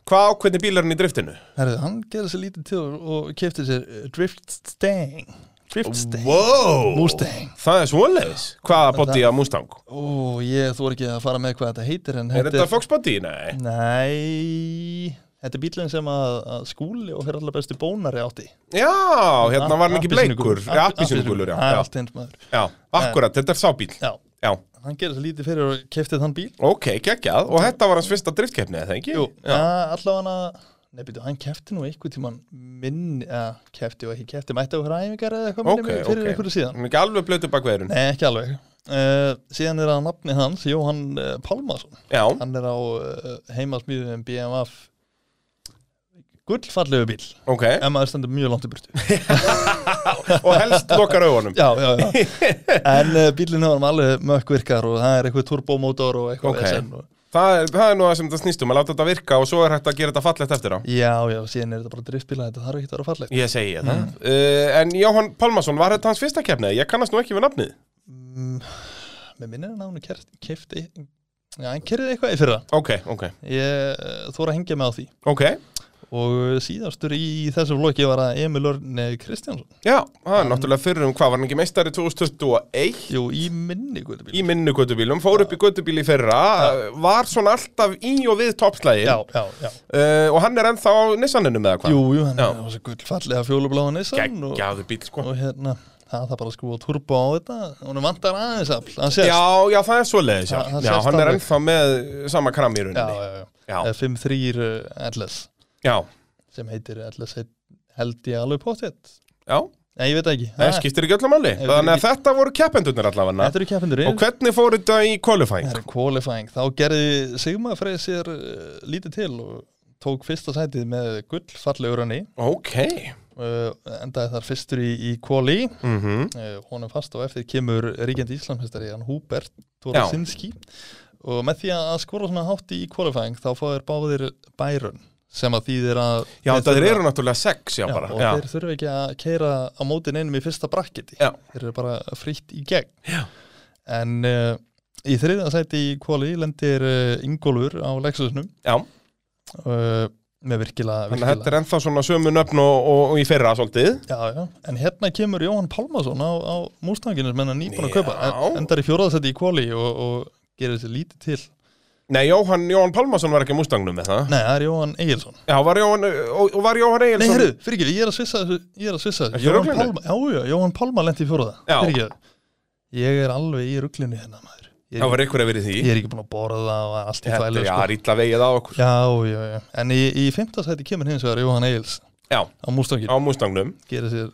A: Hvað ákveðni bíl er hann í driftinu?
B: Herðu, hann gerði sér lítið til og kefti sér eh, Drift Stang Drift Stang
A: Wow
B: Mustang
A: Það er svoleiðis Hvaða body á Mustang?
B: Ó, ég þú er ekki að fara með hvað þetta heitir en
A: Er þetta Fox body? Nei
B: Nei Þetta er bílinn sem að, að skúli og fyrir allar bestu bónari átti
A: Já, hérna var hann ekki bleikur Appisínugulur,
B: Appelsínugulur. Það er
A: já, já,
B: allt eins maður
A: já Akkurat, þetta er sábíl
B: Já,
A: Já,
B: hann gerði sér lítið fyrir og keftið þann bíl
A: ok, geggjað Og þetta var hans fyrsta driftkeppni, eða ekki?
B: Jú,
A: já.
B: allavega hann Nei, byrju, hann kefti nú einhvern tímann minni, eða kefti og ekki kefti, mætti okkur æfingar eða eitthvað
A: Ok,
B: minni mig fyrir
A: ok.
B: einhverju síðan.
A: Hann er ekki alveg blötu bakveðurinn
B: Nei, ekki alveg. Uh, síðan er að nafni hans, Jóhann uh, Pálmarsson.
A: Já,
B: Hann er á uh, heimasmýðum BMF gullfallegu bíl,
A: ok
B: en maður stendur mjög langt í burtu.
A: Og helst lokar augunum
B: já, já, já. en uh, bílinn hefur alveg mökkvirkar og það er eitthvað turbomótor og eitthvað
A: Ok.
B: vesen og,
A: það er, það er nú það sem það snýst um Að láta þetta virka og svo er hægt að gera þetta fallegt eftir á
B: Já, já, síðan er þetta bara driftbíla, þetta þarf ekki að vera fallegt.
A: Ég segi það
B: Mm.
A: uh, En Jóhann Pálmarsson, var þetta hans fyrsta keppnið? Ég kannast nú ekki við nafnið
B: Mm, Mér minnir hann að hann kefti Já, hann kerði eitthvað í fyrra
A: Ok, ok,
B: Ég eh, þóra að hengja mig á því
A: ok
B: Og eh, síðastur í þessu vloggi var að Emil Örn Kristjánsson
A: Já, það er náttúrulega fyrir um hvað Var hann ekki meistari 2021?
B: Jú, í minni guðbíl
A: í minnu gödubílum, fór upp í gödubíl í fyrra var svona alltaf í og við toppslægin
B: Já,
A: uh,
B: já, já
A: og hann er ennþá á Nissaninu með hvað
B: Jú, jú, hann
A: Já.
B: er þessu gullfallega fjólubláa Nissan og,
A: geggjaðu bíl sko
B: og hérna, það þarf bara að skrúa turbo á þetta Hún vantar aðeins afl, hann sést
A: já, já, það er svoleiðis já.
B: Það- það
A: já,
B: sést
A: hann er
B: alveg.
A: ennþá með sama kram í
B: já,
A: rauninni já,
B: já, já.
A: Já.
B: Eh, 5-3 eh, LS
A: já,
B: sem heitir LS heit- held ég alveg pottet
A: já.
B: Nei, ég veit það ekki
A: það skiptir ekki öllum alveg
B: Hefur
A: þannig að
B: ekki-
A: þetta voru keppendurnir allavega
B: Þetta eru keppindurinn
A: og hvernig fór þetta í qualifying?
B: Það er qualifying, þá gerði Sigma Freyr sér uh, lítið til og tók fyrsta sætið með gull fallegur hann í
A: ok
B: uh, endaði þar fyrstur í, í quali
A: mm
B: uh, honum fast og eftir kemur ríkjandi íslamhestari hann Húbert
A: Já.
B: Torasinski og með því að skora svona hátt í qualifying þá fá þeir báðir bærun sem að þýðir að
A: já,
B: þeir
A: það
B: þurfa-
A: eru náttúrulega sex já,
B: Já,
A: bara
B: og
A: já.
B: þeir þurfa ekki að keira á mótin einum í fyrsta brakketi
A: Já.
B: þeir eru bara fritt í gegn
A: Já.
B: en uh, í þriða sæti í kvali lendir uh, Ingólfur á Lexusnum
A: Já.
B: uh, með virkilega,
A: þannig að þetta
B: virkilega.
A: er ennþá svona sömu nöfn og, og, og í fyrra svolítið
B: Já, já. en hérna kemur Jóhann Pálmason á, á mústanginu sem hennar nýbúin að kaupa
A: Já.
B: en, endar í fjóraðsæti í kvali og, og gerir þessi lítið til
A: Nei, Jóhann, Jóhann Pálmarsson var ekki á Mustangnum með það
B: nei, það er Jóhann Egilson
A: Já, var Jóhann, og, og var Jóhann
B: Nei,
A: Egilson
B: heyrðu, fyrir ekki, ég er að svissa þessu, ég er að svissa
A: Ertu
B: þessu Jóhann
A: ruglaður?
B: Pálma, já, já, Jóhann Pálma lendi í fjóruða
A: Já.
B: Fyrir ekki, ég er alveg í ruglinu hérna, maður Ég
A: Já,
B: er,
A: var ykkur að verið því
B: ég er ekki búin að borða og allt í
A: Þetta er
B: þvælu,
A: já,
B: sko
A: rítla vegið á okkur
B: Já, já, já, en í, í fimmta sæti kemur hins vegar Jóhann Egils
A: Já,
B: á Mústangir
A: á Mustangnum
B: Gerir sér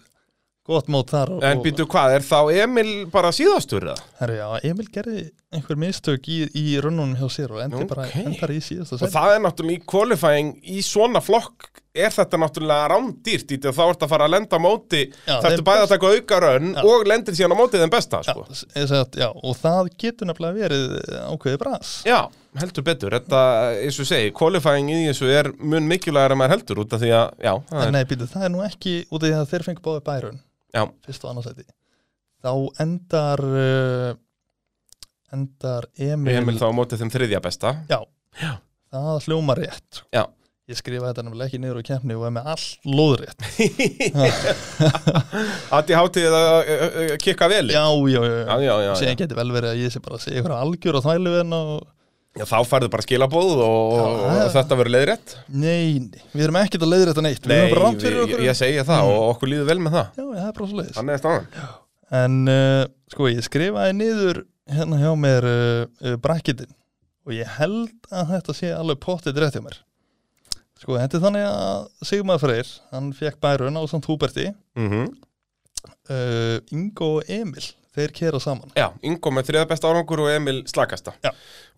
B: gott mót þar og,
A: En
B: og,
A: býtu hvað, er þá Emil bara síðastur það?
B: herru, já, Emil gerði einhver mistök í, í runnunum hjá sér og endi bara,
A: Ókei.
B: endar í síðasta
A: Og
B: sæti
A: það er náttúrulega í qualifying í svona flokk er þetta náttúrulega rándýrt í því að þá ertu að fara að lenda á móti
B: Já,
A: það ertu
B: þeim
A: bæði
B: best-
A: að taka auka raun
B: Já.
A: og lendir síðan á móti þeim besta
B: Já,
A: sko.
B: sem sagt, já, og það getur nefnilega verið ákveðið bras
A: já. heldur betur þetta, eins og ég segi, qualifying í þessu er mun mikilvægur að maður heldur út af því að já, það
B: En
A: er,
B: nei, býtu, það er nú ekki út af því að þeir fengur báði bærun
A: Já.
B: fyrst og annarsæti þá endar uh, endar Emil,
A: Emil þá á móti þeim þriðja besta
B: Já, það hljómar rétt
A: Já.
B: Ég skrifa þetta nefnilega ekki niður á kemni og er með allt lóðrétt
A: Addi hátíð að ö, ö, ö, kikka vel
B: Já, já, já,
A: já, já, já, já.
B: Sér geti vel verið að ég sé bara að segja ykkur algjör á þvælu en og
A: já Þá færðu bara skilabóð og, og,
B: Já, já.
A: og þetta verður leiðrétt
B: Nei, nei, við erum ekkert að leiðrétta neitt Við
A: Nei,
B: erum bara rámt fyrir
A: við-
B: okkur Mm.
A: ég segi það og okkur líður vel með það
B: Já, já, það er bara svo leiðis
A: Þannig er staðan
B: En uh, sko, ég skrifaði niður hérna hjá mér uh, uh, brakkitin og ég held að þetta sé alveg pottið rétt hjá mér. Sko, þetta er þannig að Sigmar Freyr, hann fekk bærun á samt Húberti,
A: mm
B: Mhm. uh, Ingo og Emil, þeir kera saman.
A: Já, Ingo með þriða besta árangur og Emil slakasta
B: Já.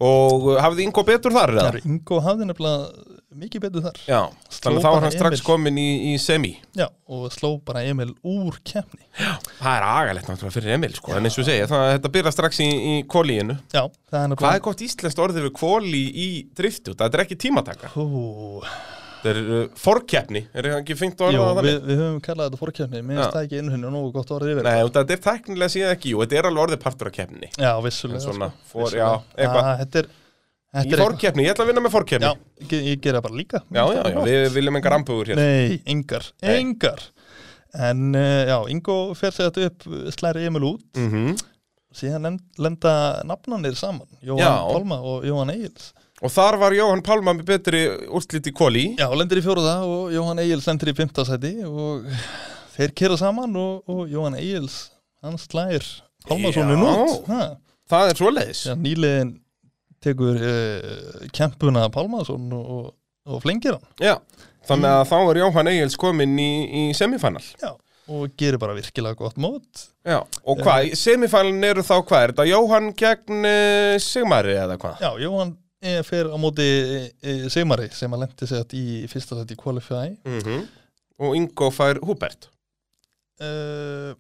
A: Og uh, hafði Ingo betur þar
B: Það
A: eða?
B: eru Ingo hafði nefnilega mikið betur þar.
A: Já,
B: Sló
A: þannig þá
B: bara
A: er hann strax
B: Emil.
A: komin í, í semi
B: Já, og sló bara Emil úr kemni.
A: Það er agalegt náttúrulega fyrir Emil sko En eins og segja, það, þetta byrja strax í, í kólíinu
B: Já, það er
A: Hvað
B: nefnilega...
A: er gott íslenskt orðið við kóli í driftu? Það er ekki tímataka
B: Hú,
A: Þetta Þetta er uh, forkeppni, er það ekki fengt að
B: Jú,
A: orða það
B: við,
A: þannig?
B: við höfum kallað þetta fórkjöfni, mér
A: Já.
B: finnst það ekki innhunni nógu gott orðið yfir.
A: Nei, þetta er teknilega síðan ekki, jú, þetta er alveg orðið partur af keppni.
B: Já, vissulega.
A: En svona,
B: sko,
A: for-
B: vissulega.
A: já, eitthvað.
B: Ah, Þetta er, þetta
A: Í
B: er eitthvað.
A: forkeppni, ég ætla að vinna með forkeppni.
B: Já, ég, ég gera bara líka.
A: já, já, já, við viljum engar hérna. ampugur hér.
B: Nei, engar,
A: Nei.
B: engar. En uh, já, Ingo fer sig þetta upp, slæri Emil út,
A: Mm
B: síðan lend- lenda nafnanir saman, Jóhann
A: Já.
B: Pálma og Jóhann Egils.
A: Og þar var Jóhann Pálma með betri úrslit í kóli.
B: Já, lendir í fjóruða og Jóhann Egils lendir í fymta sæti og þeir kera saman og, og Jóhann Egils, hann slær Pálmarssonin
A: Já.
B: út. Ha,
A: Það er svoleiðis.
B: síðan nýliðin tekur uh, kempuna Pálmarsson og, og, og flengir hann
A: Já. Þannig að þá er Jóhann Egils kominn í, í semifanal.
B: Já. og gerir bara virkilega gott mót.
A: Já. Og hvað, semifanalin eru þá hvað? Er þetta Jóhann gegn uh, Sigmari eða hvað?
B: Já, Jóhann eh, fer á móti eh, Sigmari sem að lendi sig í fyrsta sæti í Qualify
A: Mm Og Ingo fær Hubert.
B: uh,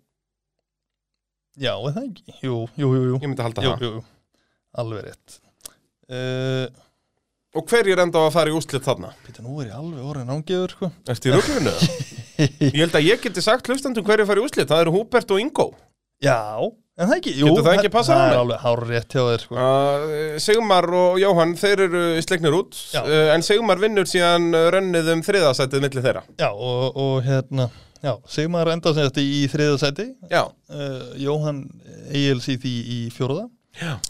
B: Já, er það ekki? Jú, jú, jú, jú,
A: Ég myndi halda
B: jú,
A: það.
B: jú, jú. alveg rétt uh,
A: Og hverjir enda að fara í úrslit þarna?
B: Pítur, nú er ég alveg orðin ángeður sko.
A: Ertu í rugglunu? ég held að ég geti sagt hlustandum hverjir fara í úrslit. Það eru Hubert og Ingo.
B: Já, en það ekki jú,
A: Getur það ekki passað
B: Það er
A: alveg?
B: alveg hár rétt hjá þér sko.
A: Uh, Sigmar og Jóhann, þeir eru slegnir út.
B: Já.
A: Uh, en Sigmar vinnur síðan uh, rönnið um þriðasætið milli þeirra.
B: Já, og, og hérna Já, Sigmar enda sem þetta í þriða sæti
A: Já.
B: uh, Jóhann Egil's í því í fjóruða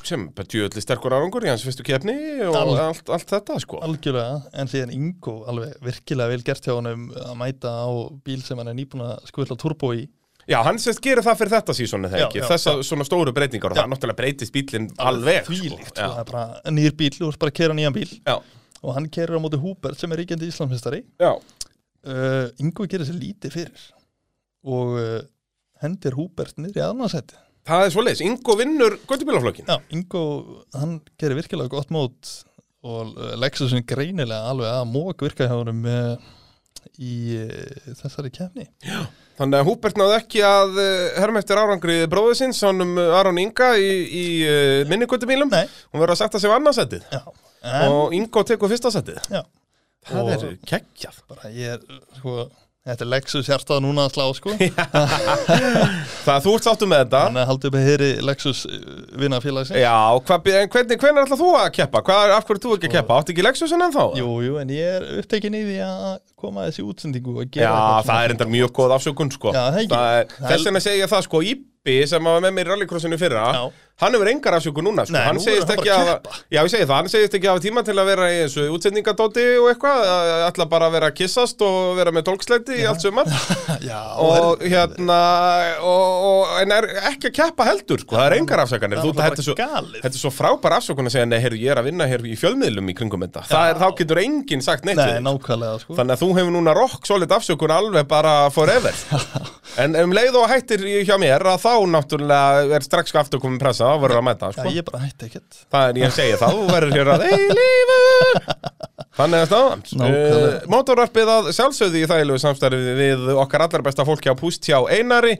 A: sem bara djöðli sterkur árangur í hans fyrstu keppni og
B: Al-
A: allt, allt þetta sko
B: algjörlega, en síðan Ingo alveg virkilega vel gert hjá honum að mæta á bíl sem hann er nýbúin að skvilla turbo í
A: Já, hann sérst gerir það fyrir þetta sísónu þegar
B: Já,
A: ekki
B: já,
A: þess að svona stóru breytingar og
B: Já.
A: það náttúrulega breytist bílinn alveg
B: þvílíkt, sko. það
A: sko.
B: er bara nýr bíl og þú ert bara að kera nýjan bíl
A: Já,
B: og hann kerir á móti Húbert sem er ríkjandi íslamhistari
A: já, já,
B: uh, Ingo gerir sér lítið fyrir og uh, hendir Húbert niður í aðnarsæti
A: það er svoleiðis Ingo vinnur göttubílaflokkin
B: Já, Ingo, hann gerir virkilega gott mót og uh, Lexusin greinilega alveg að mók virka hjá honum uh, í uh, þessari kefni
A: Þannig að Húbert náði ekki að eh, herma eftir árangri bróðu sinns honum eh, Aron Inga í, í eh, minni göttubílum
B: Nei.
A: Hún verður að setja sig á annarsætið
B: Já, en,
A: og Ingo tekur fyrsta sætið
B: já
A: Það
B: Og-
A: er geggjað
B: bara ég er sko, þetta er Lexus hjartað núna að slá sko
A: Það þú ert sáttum með þetta
B: þannig að haldið upp að heyri Lexus eh, vinnafélagsins
A: Já, hva, en hvernig, hvernig ætlað þú að keppa? Hvað, af hverju ert þú ekki að keppa? Áttu ekki Lexusin ennþá?
B: Jú, jú, en ég er upptekinn í því að koma að þessi útsendingu og gera
A: Já,
B: eitthvað
A: það er
B: svona.
A: enda mjög góð afsökun sko.
B: Já, það er ekki.
A: það er,
B: Það er-
A: Þess vegna segja ég það sko Íbbi sem var með mér í rallycrossinu í fyrra
B: Já.
A: Hann hefur engar afsökun núna sko.
B: Nei,
A: hann
B: nú er
A: segist
B: hann
A: ekki
B: bara að
A: að Já, ég segi það, hann segist ekki að hafa tíma til að vera í eins og útsendingadóti og eitthvað Ætla bara að vera að kissast og vera með tólksleiti í allt sumar
B: Já,
A: Og hérna og, og, En er ekki að keppa heldur sko. Það er engar afsökanir
B: það
A: Þú-
B: er
A: Þetta
B: bara
A: er svo
B: galið
A: Þetta er svo frábær afsökun að segja, nei, heyrðu, ég er að vinna hér í fjölmiðlum í kringum þetta. Það er, þá getur enginn sagt neitt við
B: Nei,
A: þig.
B: nákvæmlega sko
A: Þannig að þú hefur núna rock solid afsökun alveg bara forever En um leið og hættir í- hjá mér að þá náttúrulega er strax aftur komin pressa og verður að mæta
B: Já,
A: sko.
B: ég bara hætti ekkert
A: Það er ég að segja það, þú verður hér að eilífu Þannig að staðan uh,
B: Nákvæmlega.
A: Mótorvarpið að sjálfsögðu í þægilegu samstarfi við okkar allar besta fólk hjá Púst hjá Einari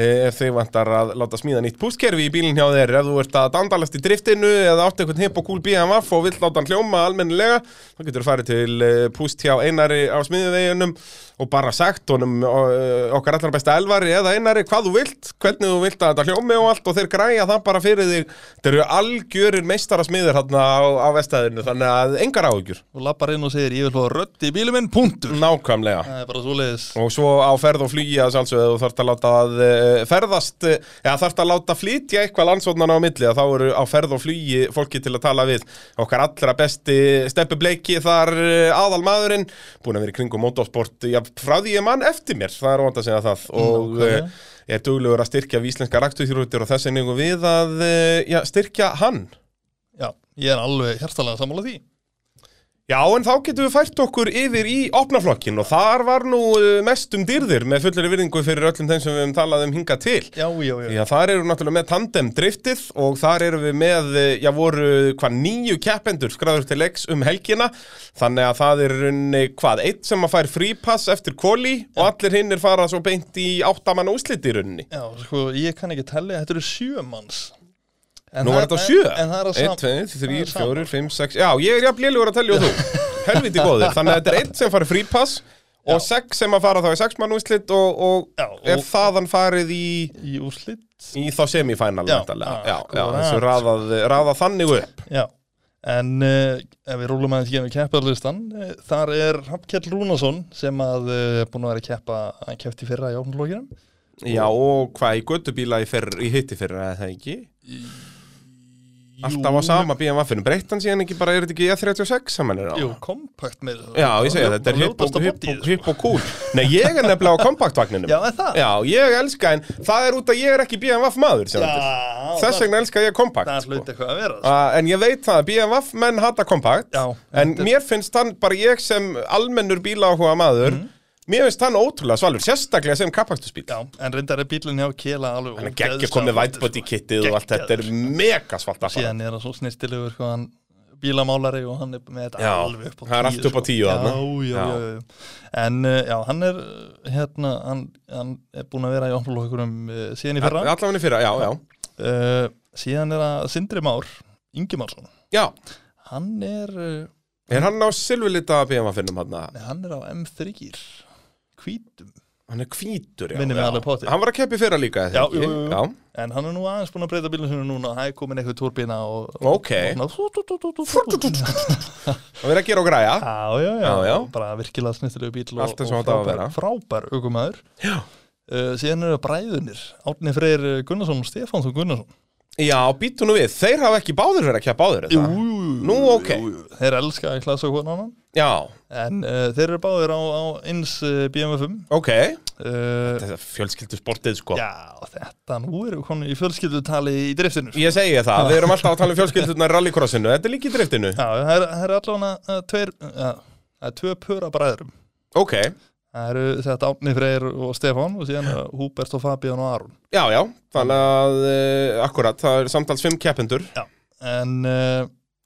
A: Eh, Ef þau vantar að láta smíða nýtt pústkerfi í bílinn hjá þeir Ef þú ert að dandalast í driftinu eða átt einhvern hipp og cool BMW og vilt láta hann hljóma almennilega þá getur þú farið til eh, Púst hjá Einari á smíðuveginum og bara sagt honum eh, okkar allar besta Elvari eða Einari hvað þú vilt, hvernig þú vilt að þetta hljómi og allt og þeir græja það bara fyrir þig Þeir eru algjörir meistara smíðir hérna á, á vestæðinu þannig að engar áhugjur
B: og lappar inn og segir ég vil fá rödd í bílum minn, punktur
A: Nákvæmlega
B: Það er bara svoleiðis
A: Og svo á ferð og flýja sjálfsögðu þú þarft að láta að eh, ferðast eh, eða þarft að láta flytja eitthvað landsóknarna á milli að þá eru á ferð og flýji fólki til að tala við okkar allra besti Steppi Bleiki þar aðal maðurinn búin að vera í kringum motorsport já, frá því ég mann eftir mér, það er óvænt að segja það og
B: Nákvæmlega.
A: eh, ég er duglegur að styrkja víslenska raktuþjórútur og þess vegna eigum við að eh, já, styrkja hann
B: Já, ég er alveg hjartalega sammála því
A: Já, en þá getum við fært okkur yfir í opnaflokkin og þar var nú eh, mest um dyrðir með fullari virðingu fyrir öllum þeim sem við höfum talað um hinga til.
B: Já, já, já,
A: Já, þar eru náttúrulega með tandem driftið og þar eru við með, eh, já voru hvað nýju keppendur skráður til leiks um helgina þannig að það er runni hvað, eitt sem að fær frípass eftir kóli og allir hinn er fara svo beint í áttamanna úsliti í runni
B: já sko, ég kann ekki telli, þetta eru sjö manns en
A: Nú
B: það-
A: var þetta sjö
B: En, en það er að
A: 1,
B: saman
A: 2,
B: það er
A: 3,
B: sama.
A: 4, 5, 6 Já, ég er jafn lélugur að telja og þú helviti góðir þannig að þetta er einn sem farið frípass og sex sem að fara þá í sexmannúslit og, og,
B: Já,
A: og
B: og-
A: er þaðan farið í
B: í úrslit
A: í þá semifænal
B: Já, Ah,
A: já,
B: já,
A: já, já,
B: akkurat.
A: þessu raðað, raðað þannig upp
B: Já, en uh, ef við rúlum aðeins ekki með kepparlistan uh, þar er Hafnkell Rúnason sem að uh, búin að vera að keppa hann keppti í fyrra í áfnlókinum
A: Já, og hvað í göttubíla í, fyrr, í hitti fyrir að það ekki? Alltaf á sama BMW-inu, breytt hann síðan ekki bara, er þetta ekki E E36 sem hann er á?
B: Jú, kompakt með
A: Já, ég segja, þetta er hipp og, hipp, og, hipp og cool Nei, ég er nefnilega á kompaktvagninum
B: sko. Já, en það
A: Já, ég elska, en það er út að ég er ekki BMW maður sem þetta er. Þess
B: það-
A: vegna elska ég kompakt
B: það hluti eitthvað að vera sko.
A: Uh, en ég veit það, að BMW menn hata kompakt
B: Já.
A: En mér finnst hann, bara ég sem almennur bíláhuga maður Mér finnst hann ótrúlega svalur, sérstaklega sem kapaktusbíl
B: Mhm. Já, en reyndar er bílinn hjá Kela alveg
A: Hann er geggja komið vætböti kittið og allt þetta er mega svalt að fara
B: sko. Síðan er það svo snirtilegur hvað hann bílamálari og hann er með þetta
A: Já,
B: alveg upp á tíu
A: það er allt upp á
B: sko.
A: tíu
B: já,
A: þarna.
B: já, já, já, já En uh, já, hann er uh, hérna, hann, hann er búin að vera í ofnlókurum uh, síðan í fyrra uh,
A: Allafan í fyrra, já, já
B: Síðan er það Sindri Már Ingimarsson
A: Já,
B: Hann er, uh,
A: er hann á silfurlita BMW finnum hann
B: nei, hann er á M3 hvítum,
A: Hann er hvítur, já,
B: minnum við alveg
A: já.
B: potið
A: Hann var að keppi fyrra líka, er það
B: Já,
A: ekki?
B: jú, jú, jú.
A: já
B: En hann er nú aðeins búin að breyta bílinn sinu núna Það er komin eitthvað turbína og
A: Ok.
B: og svona-
A: Hann verið að gera og græja
B: Já, já, já,
A: Já, já.
B: Bara virkilega snittilegu bíl og,
A: Allt eins og
B: og
A: þetta á að vera.
B: frábær, frábær aukumæður
A: Já.
B: uh, Síðan eru bræðunir Árni Freyr Gunnarsson og Stefánsson Gunnarsson
A: Já, býtu nú við, þeir hafa ekki báður verið að keppa áður er það?
B: jú, jú
A: Nú, ok
B: Þeir elska að klasa hvern annan
A: Já,
B: En uh, þeir eru báðir á, á eins uh, BMW 5
A: ok
B: uh,
A: Þetta er fjölskyldu sportið, sko
B: Já, þetta nú eru konu í fjölskyldutali í driftinu sko.
A: Ég segi það, við erum alltaf að tala um fjölskyldunar rallycrossinu, þetta er líka í driftinu
B: Já, það eru- það eru allavega uh, tveir uh, Það er tvö pura bræðurum
A: Ok,
B: Það eru þetta Árni Freyr og Stefán og síðan uh, Húbert og Fabian og Aron
A: já, já, þannig að uh, akkurat, það er samtals fimm keppendur
B: En uh,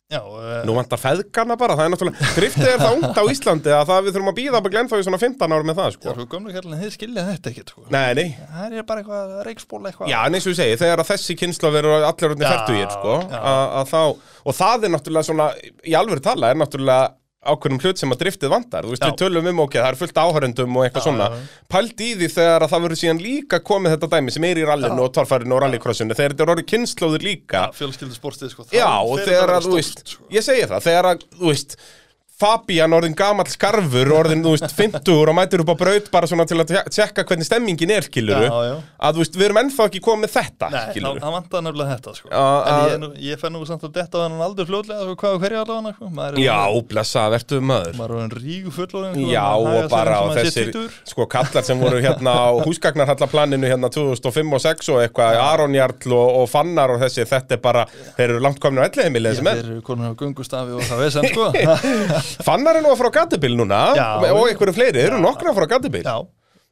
B: já uh,
A: Nú vantar feðgarna bara, það er náttúrulega driftið er það ungt á Íslandi að það við þurfum að býða bara glennþá í svona 15 ára með það,
B: Já,
A: sko
B: sko, gömlu kærlinn, þið skilja þetta ekkert sko.
A: Nei, nei,
B: Það er bara eitthvað reikspóla eitthvað
A: já, en eins og ég segi, þegar að þessi kynsla verður allir orðin
B: Já,
A: færtugir, sko
B: já.
A: að að þá, og það er náttúrulega svona í alvöru tala, er náttúrulega ákveðnum hlut sem að driftið vandar, þú veist,
B: Já.
A: við tölum um ok, það er fullt af áhörendum og eitthvað
B: Já,
A: svona
B: já, já.
A: pælt í því þegar að það verður síðan líka komið þetta dæmi sem er í rallinu og torfærinu og rallycrossinu þegar þetta er orðið kynnslóður líka
B: Fjölskyldu sportið sko, þá
A: Já, og
B: fer
A: þegar
B: þetta
A: að, þú
B: stórt,
A: veist,
B: sko.
A: ég segi það, þegar að, þú veist, Fabian orðin gamall skarfur, orðin, þú veist, fintur og mætir upp á braut bara svona til að tjek- tjekka hvernig stemmingin er, skiluru,
B: Já, já.
A: að, þú veist, við erum ennþá ekki komið með þetta,
B: Nei, þá-
A: skiluru.
B: það vantar nefnilega þetta sko.
A: Já, að-
B: En ég, er nú, ég fenn nú samt að detta á hennan aldur fljótlega sko, hvað og hverja allavega sko. maður er
A: Já,
B: orðinn-
A: blessa, verðu maður.
B: maður er orðin ríku fullorinn sko,
A: Já,
B: maður
A: og
B: hagar sig
A: bara
B: eins
A: á
B: maður sé
A: þessir,
B: tvítugur.
A: sko, kallar sem voru hérna á húsgagnarhallaplaninu hérna 2005 og 6 og eitthvað, Aron Jarl og, og Fannar og þessi, þetta er bara, þeir eru langt komin á ellihemilið sem
B: Þeir
A: er.
B: eru konur á gungustafi og það veist hann sko.
A: Fannar er nú að fara á gatubil núna
B: Já.
A: og, og einhverju fleiri, þeir eru nokkra að fara á gatubil.
B: Já,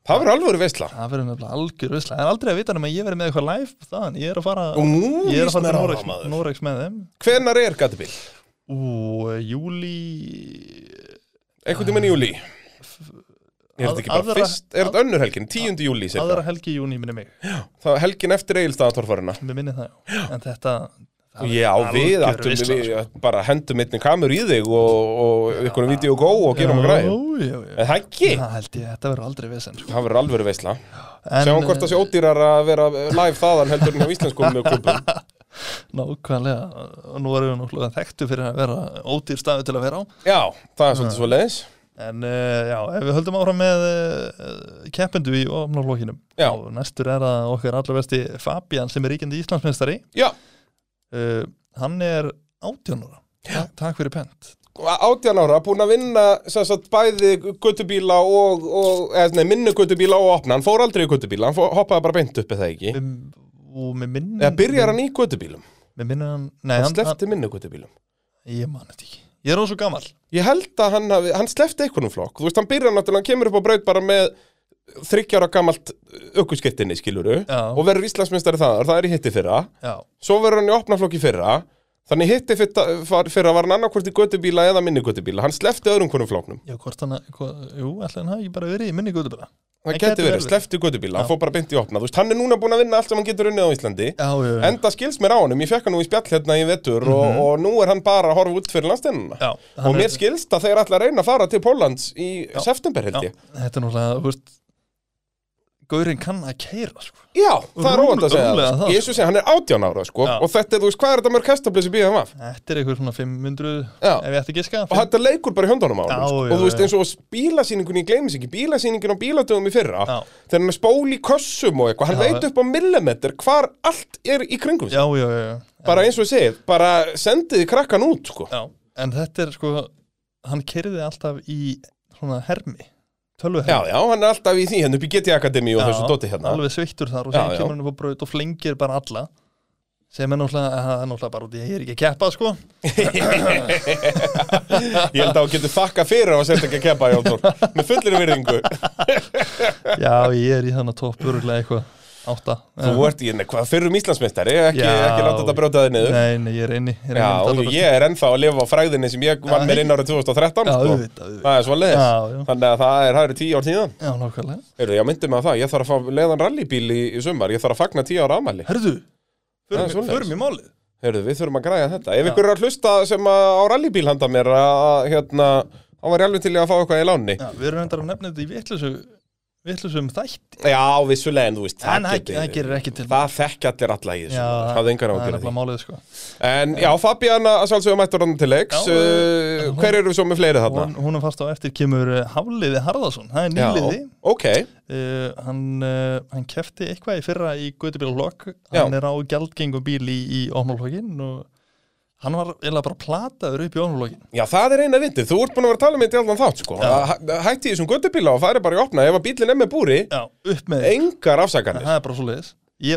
A: Það verður alveg veistla.
B: það verður nefnilega algjör visla En aldrei að vita nema að ég verið með eitthvað live þann Ég er að fara,
A: Og nú
B: ég er að
A: líst mér á það,
B: fara til Noregs,
A: maður.
B: Noregs með þeim
A: Hvenar er gatubil?
B: Ú, júli
A: Einhvern tímann í júli Er þetta ekki bara
B: Aðra-
A: fyrst, er þetta önnur helgin? 10. júli
B: aðra helgi í júni minni mig
A: Það er helgin eftir Egilstaðatorfarina
B: Mér minni það, já. en þetta það
A: Já,
B: er
A: við
B: algjör
A: ættum
B: veisla, sko.
A: við bara hendum einnig kamur í þig og, og einhvern vídeo go og gerum að græði
B: Já, já, já.
A: En það ekki,
B: Það held ég, þetta verður aldrei vesen sko.
A: það verður alveg veistla
B: En, eh,
A: Sjáum hvort það sé ódýrar að vera live þaðan heldur en á íslenskum klubum
B: eh, Nákvæmlega, nú erum við náttúrulega þekktu fyrir að vera ódýr stafi til að vera á
A: Já, það er svolítið svo leiðis
B: En uh, já, ef við höldum áfram með uh, keppendu í ofnaflokkinum
A: Já.
B: og Næstur er að okkar allra vesti Fabian sem er ríkjandi Íslandsmeistari
A: Já,
B: uh, Hann er átjónura Ta Takk fyrir pent
A: átján ára, búin að vinna sem sagt, bæði göttubíla og, og eða, nei, minnu göttubíla og opna hann fór aldrei í göttubíla, hann fó, hoppaði bara beint upp eða ekki,
B: Mér- Og mér minn
A: eða byrjar hann í göttubílum
B: Mér minna hann Nei,
A: hann
B: hann, hann,
A: slefti minnu göttubílum
B: Ég man þetta ekki. Ég er á svo gammal.
A: ég held að hann, hafi, hann slefti einhvernum flokk þú veist, hann byrjar náttúrulega, hann kemur upp á braut bara með þryggjára gamalt ökkuskettinni skiluru,
B: Já.
A: og verður Íslandsmeistari þaðar, það er í hitti fyrra
B: Já.
A: svo verður hann í opna flokki fyrra Þannig hitti fyrir að var hann annarkvort í göttubíla eða minni göttubíla. Hann slefti öðrum konum flóknum.
B: Já, hvort hann, hva, jú, ætla hann hafi ekki bara verið í minni gutu bara.
A: Það
B: Það
A: geti
B: gæti
A: verið,
B: verið.
A: slefti göttubíla, hann
B: Já.
A: fór bara beint í opna. Þú veist, hann er núna búin að vinna allt sem hann getur unnið á Íslandi.
B: Já, já, já.
A: Enda skils mér á honum, ég fekk hann nú í spjall hérna í vettur og, og nú er hann bara að horfa út fyrir landstennuna.
B: Mhm. já,
A: Og
B: hann
A: mér
B: er-
A: skilst að þeir ætla að reyna að fara til Póllands í
B: Já.
A: september held
B: Já,
A: ég.
B: þetta er náttúrulega, þú veist, Gaurinn kann að keira, sko.
A: Já, það er
B: Rúm-
A: óvænt að segja
B: rúmlega
A: það.
B: það,
A: Ég svo sé, hann er 18 ára, sko,
B: Já.
A: og þetta er, þú veist, hvað er þetta mörg hestablið sem býða hann af?
B: Þetta er eitthvað svona 500,
A: Já.
B: ef ég ætti að giska.
A: Og þetta leikur bara í höndunum á hann,
B: Já,
A: sko.
B: já,
A: Og þú veist,
B: já.
A: eins og bílasýningunni, ég gleymis ekki, bílasýningin á bíladögum í fyrra,
B: Já.
A: þegar hann er spól í kössum og eitthvað, hann
B: Já,
A: veit
B: já.
A: upp á millimetr hvar allt er í kringum sig.
B: Já, já, já, já.
A: Bara eins og ég segið, bara sendiði krakkan út, sko.
B: Já, en þetta er sko, hann keiriði alltaf í svona hermi, tölvu
A: Já, já, hann er alltaf í því, hérna upp í GT Akademi og þessu dóti hérna.
B: Alveg sveittur þar og
A: Já,
B: þegar
A: já.
B: kemur hann upp á braut og flengir bara alla sem er náttúrulega, það er náttúrulega bara út í að ég er ekki að keppa sko
A: Ég held að hann getur þakka fyrir og sett ekki að keppa, Jónur, með fullir virðingu.
B: Já, ég er í þannig topp öruglega eitthvað átta
A: Þú ert í henni, hvað fyrrum Íslandsmeistari, ekki,
B: Já.
A: ekki láta þetta brjóta þig niður.
B: Nei, nei, ég er inni, um ég er
A: Já, og
B: inni
A: ég er ennþá að lifa á fræðinni sem ég vann
B: Já,
A: mér inn árið 2013,
B: Já,
A: sko.
B: auðvitað, auðvitað
A: Það er svo leiðis.
B: Já, já.
A: Þannig að það er, það eru tíu ár tíðan.
B: Já, nákvæmlega
A: Heyrðu, ég myndi mig að það, ég þarf að fá leiðan rallybíl í, í sumar, ég þarf að fagna tíu ára afmæli.
B: Herðu,
A: Það er
B: förum
A: svoleiðis.
B: förum í málið
A: Heyrðu, við þurfum að græja þetta. Ef
B: Já.
A: ykkur er að hlusta sem að, á rallybíl handa mér, að, hérna, þá var ég alveg til í að fá eitthvað í láni.
B: Já, við erum endar að nefna þetta í vitlusu vitlusum þætti
A: Já, vissulega, en þú veist,
B: En
A: það
B: það
A: geti-
B: það gerir ekki til
A: Það þekki allir alla í þessu, það hafði engar
B: sko. það er
A: ágjörði.
B: nefnilega málið sko
A: En já, Fabian að sjálfsögum mættur hann til leiks
B: Já,
A: uh,
B: hún-
A: Hver eru svo með fleiri
B: hún,
A: þarna?
B: hún er fast á eftir kemur eh, Hafliði Harðarsson, það er nýliði
A: Já, ok
B: uh, hann, uh, hann kefti eitthvað í fyrra í Guðubílflokk
A: Já.
B: hann er á gjaldgengum bíl í, í ofnálflokkin og hann var eiginlega bara plataður upp í ofnálflokkin
A: Já, það er eina vindið, þú ert búin að vera að tala með þetta í allan þátt sko. Að hæ- Hætti í þessum göttubíla og færi bara í opna Ef að bílinn er með búri,
B: Já, upp með þig.
A: engar afsakanir
B: það er bara svo leiðis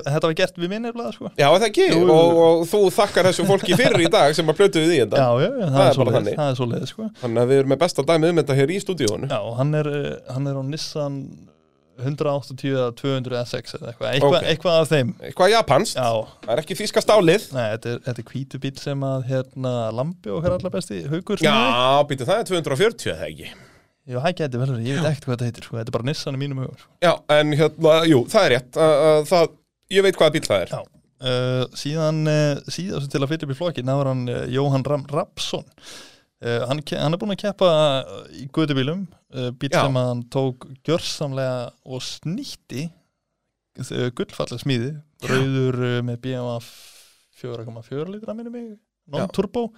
B: þetta var gert við minni eflega sko
A: Já, er það ekki,
B: Jú, jú, jú.
A: og, og þú þakkar þessu fólki fyrir í dag sem að plötu við í
B: Já,
A: þetta
B: já, já, það,
A: Það er
B: er svo
A: bara
B: leiðis,
A: þannig.
B: það er svo leiðis sko.
A: Þannig að við erum með besta dæmi um þetta hér í stúdíónu
B: Já, og hann er, eh, hann er á Nissan 180 eða 200 SX eða eitthvað, eitthvað,
A: Ok.
B: eitthvað af þeim
A: Eitthvað japanst,
B: Já,
A: það er ekki þýska stálið
B: Nei, þetta er, þetta er hvítu bíl sem að hérna Lambi okkar allar besti haugur
A: Já, býtu, það er 240 eða ekki
B: Jú, það geti vel verið, ég veit ekkert hvað þetta heitir sko. Þetta er bara Nissan í mínum hugum sko.
A: Já, en hérna, jú, það er rétt uh, uh, það, Ég veit hvaða bíl það er
B: Já Uh, síðan uh, síðast til að fyrir upp í flokkin það var hann uh, Jóhann Ram Rapsson uh, hann, ke- hann er búin að keppa uh, í guðubílum uh, bíl
A: Já.
B: sem hann tók gjörsamlega og snýtti uh, gullfallega smíði rauður uh, með BMF 4,4 litra minni mig non-turbo,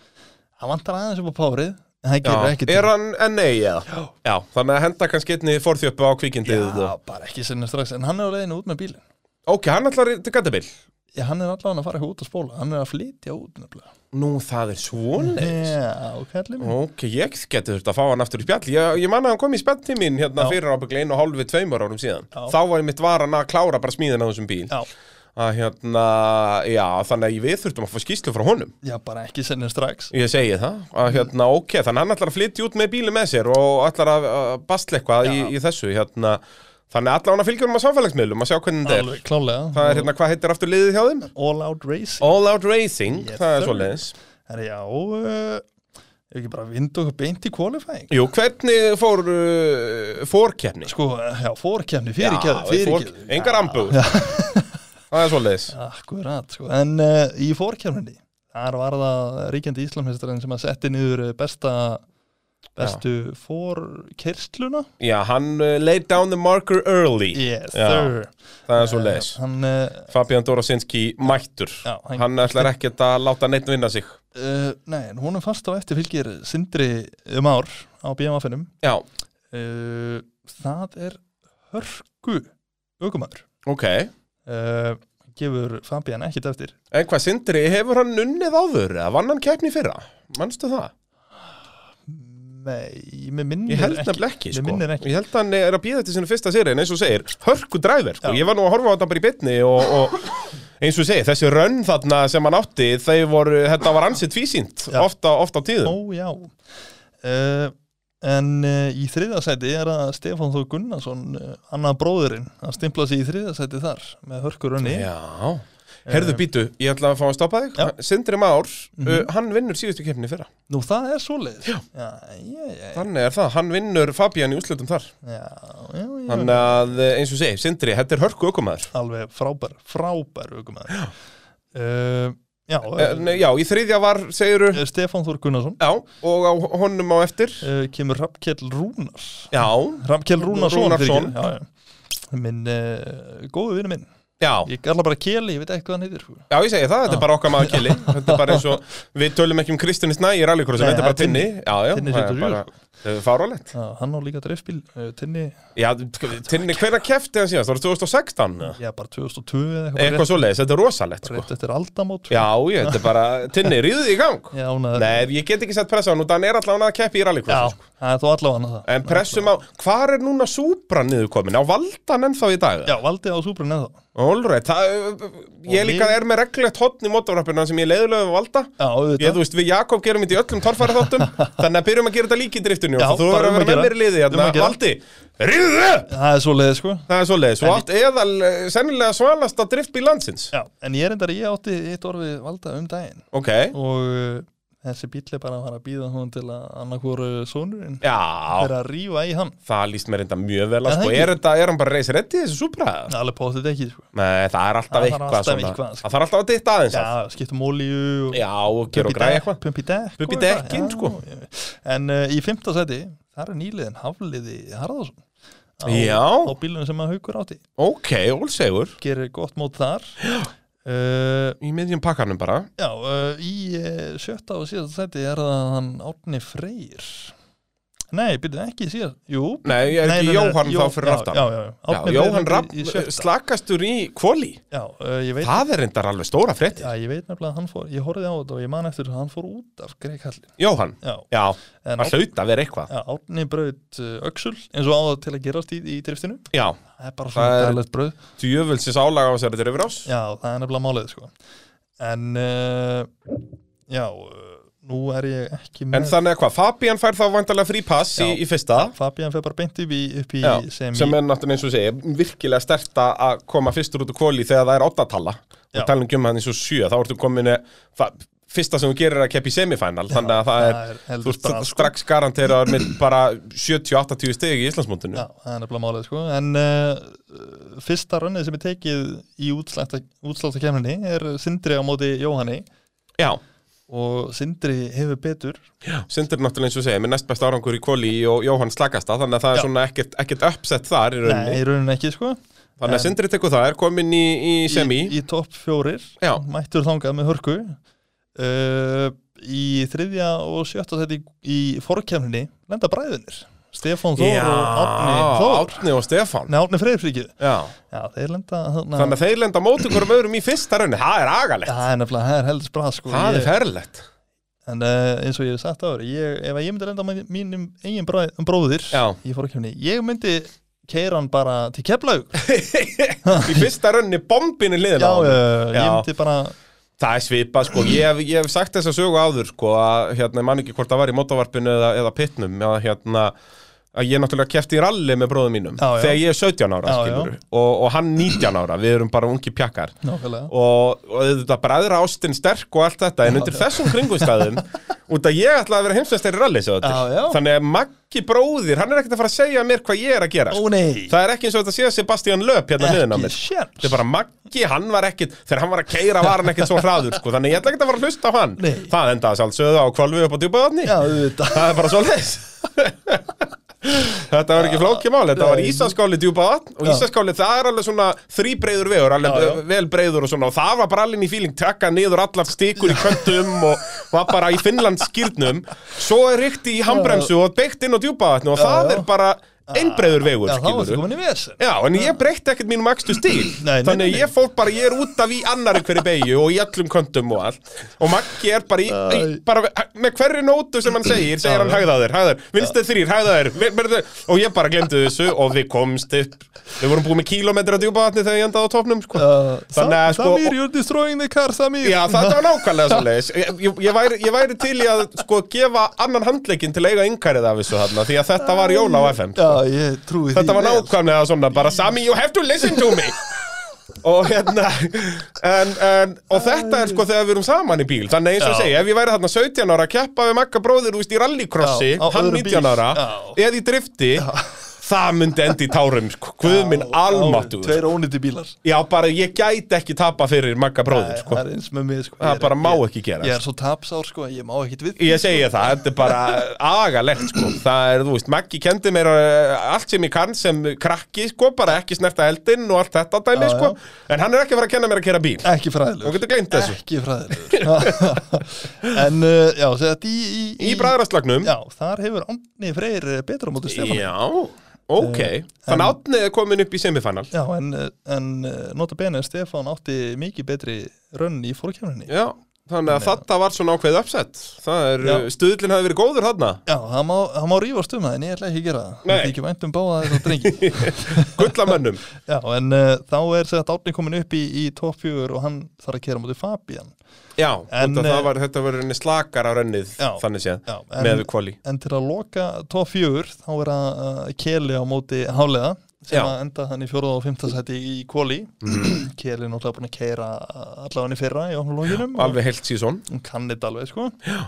B: hann vantar aðeins upp á párið en það gerir
A: Já,
B: ekki
A: er hann NA eða? Já. þannig að henda kannski einni forþjöppu á kvikindið
B: Já,
A: og...
B: bara ekki sinni strax, en hann er á leiðinu út með bílinn
A: Ok, hann ætlar í- til Gatabil
B: Já, hann er allavega að fara eitthvað út að spóla Hann er að flytja út nefnilega
A: Nú, það er svona
B: Já, kallið minn
A: Mhm. Ok, ég geti þurft að fá hann aftur í spjall Ég, ég manna að hann kom í spjall til mín hérna
B: Já.
A: fyrir ábygglega einu og hálfi tveimur árum síðan
B: Já.
A: Þá var ég mitt varan að klára bara smíðin á þessum bíl
B: Já,
A: að, hérna, Já, þannig að við þurftum að fá skýslu frá honum
B: já, bara ekki sinni strax
A: Ég segi það, að hérna, ok, þannig að hann ætlar að flytja út með bíli með sér og ætlar að að basla eitthvað í,
B: Já.
A: í þessu hérna. Þannig að allar hann að fylgjum á samfélagsmiðlum að sjá hvernig þetta er
B: Alveg, klálega
A: Það er hérna, hvað heitir aftur liðið hjá þeim?
B: All out racing
A: All Out Racing,
B: Yes,
A: það er
B: sir.
A: svoleiðis
B: Herra, já, uh, ef ekki bara vindu okkur beint í qualifying
A: Jú, hvernig fór uh, fórkeppni?
B: Sko, já, fórkefni, fyrirkefni,
A: Já,
B: fyrirkefni
A: fór- engar ambúr Það er svoleiðis
B: Akkurat, sko, en uh, í fórkefninni Þar var það ríkjandi íslamhestarinn sem að setti niður eh, besta bestu fórkersluna
A: Já, hann uh, laid down the marker early
B: Yes,
A: Já.
B: sir
A: Það er svoleiðis
B: Eh, Hann, uh,
A: Fabian Dorosinski mættur
B: Já, hann-
A: Hann ætlar ekkert að láta neitt vinna sig
B: Uh, nei, en hún er fast á eftir fylgir Sindri um ár á BMF-inum
A: Já,
B: uh, Það er hörku aukumæður
A: ok
B: uh, Gefur Fabian ekkit eftir
A: En hvað, Sindri, hefur hann unnið áður? Eða vann hann keppni í fyrra? Manstu það?
B: Nei, mér minnir
A: Ég held
B: ekki
A: nefnilega ekki,
B: Mér
A: sko.
B: minnir ekki.
A: Ég held að hann er að býða til sinni fyrsta séri en eins og segir, hörku dræver sko.
B: Já.
A: Ég var nú að horfa á þetta bara í bytni og, og eins og segir, þessi rönn þarna sem hann átti, þeir voru, þetta var ansið tvísýnt,
B: Já.
A: ofta, ofta á tíðum
B: Ó, já uh, En uh, í þriðasæti er að Stefán Þór eh, Gunnarsson, uh, annað bróðurinn að stimpla sig í þriðasæti þar með hörkurunni
A: Já, Herðu býtu, ég ætla að fá að stoppa þig
B: Já.
A: Sindri Már,
B: Mhm.
A: uh, hann vinnur síðustu keppni í fyrra
B: Nú, það er svoleiðis.
A: Já.
B: Já, já, já, já,
A: Þannig er það, hann vinnur Fabian í úslutum þar
B: já, já, já.
A: Þannig að eh, eins og segi, Sindri, þetta er hörku ökumæður
B: Alveg frábær, frábær ökumæður. Já. Uh, já,
A: en, eh, Já, í þriðja var, segiru
B: eh, Stefán Þór Gunnarsson
A: Já, og á honum á eftir
B: uh, kemur Rappkjell Rúnars.
A: Já,
B: Rappkjell Rúnarsson.
A: Rúnarsson.
B: fyrirgefðu, Já, já. Minn, uh, góðu vinnu minn.
A: já,
B: Ég kalla bara Kjeli, ég veit ekki hvað hann heitir. sko.
A: já, ég segi það, þetta er bara okkar maður kili Þetta er bara eins og, við tölum ekki um Kristján Snæ í rallycrossinu,
B: Nei,
A: þetta er bara
B: það er
A: Tinni Já, já,
B: Tinni
A: það er
B: 74,
A: bara eh, fáránlegt
B: Já, hann á líka dreifspil, uh, Tinni,
A: Já, Tinni, hvernig kefti hann síðast? Það var 2016 eða?
B: já, bara 2002 eða eitthvað.
A: Eitthvað svoleiðis, þetta er rosalegt sko
B: Rétt eftir aldamót. sko.
A: Já, ég, þetta er bara, Tinni, ríðu í gang
B: Já, hún er.
A: Nei, ég get ekki sett pressu á hann út að hann er allavega að keppi í
B: Já,
A: rallycross sko.
B: það er þó allavega það.
A: En pressum á, hvar er núna Supra niður komin? Á valdan ennþá í dag?
B: Já, valdi á súbrun eða þá.
A: Allrætt, ég
B: Og
A: líka
B: við-
A: er með reglulegt hotn í motorrappina sem ég leiðulega við valda
B: Já,
A: Ég,
B: auðvitað.
A: þú veist, við Jakob gerum þetta í öllum torfæraþáttum Þannig að byrjum að gera þetta líka í driftinu
B: Já,
A: Jóns, og Þú
B: bara
A: verður að
B: um að
A: vera með mér
B: gera.
A: í liði
B: Um
A: hérna,
B: að gera.
A: valdi Ríðu upp!
B: Það er svo leiðis, sko.
A: Það er svo leiðis,
B: En-
A: og allt eðal eh, sennilega svalasta driftbíl landsins
B: Já, en ég er endar, ég átti eitt orði valda um daginn
A: Ok,
B: og uh, þessi bíll er bara að fara að býða hún til að annarkvoru sonurinn
A: já,
B: fyrir að rífa í hann.
A: það líst mér enda mjög vel
B: Er
A: að
B: það
A: sko,
B: ekki?
A: er, þetta, er hann bara reis reddi þessi Supra?
B: Það er Alveg póttið ekki, sko.
A: Nei, það er alltaf
B: Það þarf
A: eitthvað
B: alltaf
A: svona.
B: eitthvað, sko.
A: Það þarf alltaf að ditta aðeins að.
B: Já, eh. skiptum olíu og
A: Já, og gera og græja eitthvað
B: Pumpi dekk. og
A: Pump í
B: eitthvað.
A: dekkin,
B: Já,
A: sko.
B: ég- En uh, í fymta seti, það er nýliðin Hafliði Harðarsson. Á,
A: Já.
B: Á bílunum sem að haugur átti.
A: Ok, ólsegur
B: Gerir gott mót þar. Já.
A: Í miðjum pakkanum bara
B: Já, uh, í uh, sjötta og síðasta seti er það hann Árni Freyr Nei, byrjuðu ekki síðan Jú,
A: Nei, ég er
B: nei, nei,
A: ekki
B: nei,
A: Jóhann
B: Jó-
A: þá fyrir
B: já,
A: aftan
B: Já, já, já,
A: Já,
B: Árni Freyr
A: Jóhann
B: er
A: Rapp
B: í, í sjötta
A: slakastur í kvóli
B: Já, uh, ég veit
A: Það er reyndar alveg stóra frétti
B: Já, ég veit nefnilega að hann fór, ég horfði á þetta og ég man eftir að hann fór út af greikallin
A: Jóhann,
B: Já,
A: já,
B: en
A: það hlaut að vera eitthvað
B: já, Árni braut uh, öxul eins og á það til að gerast í, í driftinu
A: Já,
B: Það er bara
A: Það
B: svona
A: er-
B: dæðlegt brauð
A: djöfulsis álaga á sér þetta yfir ás
B: Já, það er nefnilega málið, sko En, uh, já, uh, nú er ég ekki með
A: En þannig að hvað, Fabian fær þá vantarlega frí pass í,
B: Já.
A: í fyrsta
B: Fabian fer bara beint upp í, upp í
A: Já,
B: sem,
A: sem er náttúrulega eins og segja virkilega stert að- að koma fyrstur út úr kvóli þegar það er óttatala
B: Já.
A: og tala um hann eins og sjö, þá ertu komin í- það, fyrsta sem þú gerir er að keppa í semifænal þannig að það er, þú
B: heldur
A: ert
B: strax sko.
A: strax garanteraður með bara 70-80 stegi í Íslandsmótinu
B: Já, það er nefnilega málið sko en uh, fyrsta rönnið sem er tekið í útsláttakemninni er Sindri á móti Jóhanni
A: Já,
B: og Sindri hefur betur
A: Sindri náttúrulega eins og segja með næst best árangur í kvóli og Jóhann slagasta þannig að það er
B: Já.
A: svona ekkert, ekkert uppsett þar í
B: Nei,
A: rauninni
B: í rauninni ekki sko
A: þannig að
B: en-
A: Sindri tekur það, er komin í, í semi
B: Í, í topp fjórir,
A: Já.
B: mættur þangað með hörku uh, Í þriðja og sjötta þetta í, í forkemninni lenda bræðunir Stefán Þór
A: Já,
B: og Árni Þór
A: Árni og Stefán
B: Nei, Árni Freyfríkið
A: Já.
B: Já, þeir lenda
A: Þannig að þeir lenda á móti hverjum öðrum í fyrsta rauninni, það er agalegt
B: Það er nefnilega, það er heldur sprað sko
A: Það
B: ég,
A: er ferlegt
B: En uh, eins og ég hef sagt áður ég, Ef að ég myndi lenda á mæ- mínum eigin bræ, um bróðir
A: Já.
B: Ég fór ekki henni Ég myndi keira hann bara til keflaug Já,
A: Í fyrsta rauninni bombinu liðin á honum.
B: uh, ég
A: Já.
B: myndi bara
A: Það er svipað sko Ég hef, ég hef sagt þess að sögu áður sko að hérna, ég man ekki hvort það var í mótavarpinu eða, eða pittnum að hérna að ég náttúrulega kefti í ralli með bróðum mínum
B: Já, já.
A: þegar ég er 17 ára
B: Já,
A: skilur og, og hann 19 ára, við erum bara ungi pjakkar
B: Nákvæmlega
A: og, og þetta bræðra ástin sterk og allt þetta en undir þessum kringumstæðum út að ég ætla að vera heimsveistari ralli svo þetta
B: Já,
A: er.
B: já.
A: þannig að Maggi bróðir, hann er ekkert að fara að segja mér hvað ég er að gera
B: Ó
A: sko.
B: nei,
A: það er ekki eins og þetta sé að Sebastian löp hérna hliðin á
B: ekki
A: mér
B: séns
A: Þetta er bara Maggi, hann var ekkit, þegar hann var að keira var hann ekkit svo hraður, sko, þannig ég ætla ekkit að fara að hlusta á hann.
B: Nei.
A: Það endaði sjálfsögðu á kvalvi upp á djúpaðatni.
B: Já, auðvitað
A: Það er bara svo leis. þetta var ekki flókið mál, þetta var
B: Nei.
A: Ísaskáli djúpaðatn og
B: Já.
A: Ísaskáli það er alveg svona þrýbreiður vegur, alveg
B: Já, já.
A: vel breiður og svona og það var bara alveg í fíling taka niður allar stikur í kvöndum og var bara í Finnland skýrnum. Svo er rykti í handbremsu og beikt inn á djúpaðatni og
B: Já,
A: það
B: já.
A: er bara einbreiður vegur,
B: Já, sko þá
A: skilurðu.
B: varstu komin í vesen
A: Já, en ég breytti ekkert mínum akstu stíl
B: Nei, nei,
A: Þannig að
B: nei.
A: ég fór bara, ég er út af í annari hverju beigju og í öllum köndum og allt Og Maggi er bara, í, í, bara með hverju nótu sem hann segir, segir hann hægðaðir, hægðaðir, vinstið þrýr, hægðaðir vi- verðu- Og ég bara glemdi þessu og við komst upp Við vorum búin með kílómetra djúpaðatni þegar ég endaði á topnum sko.
B: Uh,
A: Þannig að, sko-
B: Samir, you're destroying the car, Samir
A: Já, það var nákvæmlega svo leiðis ég, ég, væri, ég væri til í að sko gefa annan handleikin til að eiga yngarið af þessu þarna Því að þetta var jól á FM sko.
B: Já, ég trúi því
A: Þetta var
B: vel.
A: nákvæmlega svona bara Sami, you have to listen to me og hérna en, en, og þetta er sko þegar við erum saman í bíl þannig eins og
B: Já.
A: ég segi, ef ég væri þarna 17 ára að keppa við Magga bróðir úst í rallycrossi
B: Já, á
A: hann
B: öðrum bíl.
A: 19 ára,
B: Já.
A: eða í drifti það myndi endi í tárum sko. guð minn almáttugur sko.
B: Tveir ónýtti bílar
A: já, bara ég gæti ekki tapa fyrir Magga bróðir
B: Það
A: sko.
B: er eins með mig sko
A: það
B: Ég er-
A: bara má
B: ég-
A: ekki gera
B: Ég er svo tapsár sko, ég má ekkit við
A: Ég segi það, þetta er bara agalegt sko. Það er, þú veist, Maggi kendi mér uh, allt sem ég kann sem krakki sko, bara ekki snerta eldinn og allt þetta dæmi
B: Já, Eh,
A: sko. En hann er ekki að fara að kenna mér að kera bíl
B: Ekki fræðilegur
A: Þú getur gleymt þessu.
B: Ekki fræðilegur En uh, já, segja þetta í Í,
A: Í bræðraslagnum
B: Já, þar hefur Árni Freyr eh, betra á móti Stefán Eh,
A: Já, ok Þannig að Átni er komin upp í semifinal
B: Já, en, eh, en eh, nota bene Stefán átti mikið betri rönn í fórkjöfninni
A: Já, þannig að þetta var svona ákveð uppsett Það er,
B: Já.
A: uh, stuðlinn hafi verið góður þarna
B: Já, það má, það má rífast um það en ég ætla ekki að gera það
A: Nei.
B: Það er ekki vænt um báða þessar drengi
A: Gullamönnum
B: Já, en uh, þá er segja Árni komin upp í, í toppjögur og hann þarf að kera móti Fabian
A: Já,
B: En,
A: en,
B: eh,
A: var, þetta var henni slakar á rennið
B: Já.
A: Þannig séð,
B: Já, en,
A: með við kvali
B: en til að loka top 4 þá er að uh, Keli á móti Hálega sem
A: Já. Mhm.
B: að enda hann í fjóruða og fymta sæti í Koli Keli er náttúrulega búin að keira allavega hann í fyrra í ofnulóginum
A: Alveg heilt síðan
B: hún kann þetta alveg sko Já.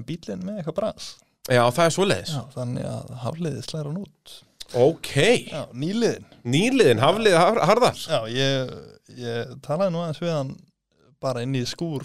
B: en bílinn með eitthvað bras
A: Já, það er svoleiðis
B: Já, þannig að hafliði slæra hann út
A: Ok,
B: Já, nýliðin
A: nýliðin, haflið har- harðar
B: Já, ég, ég talaði nú aðeins við hann bara inn í skúr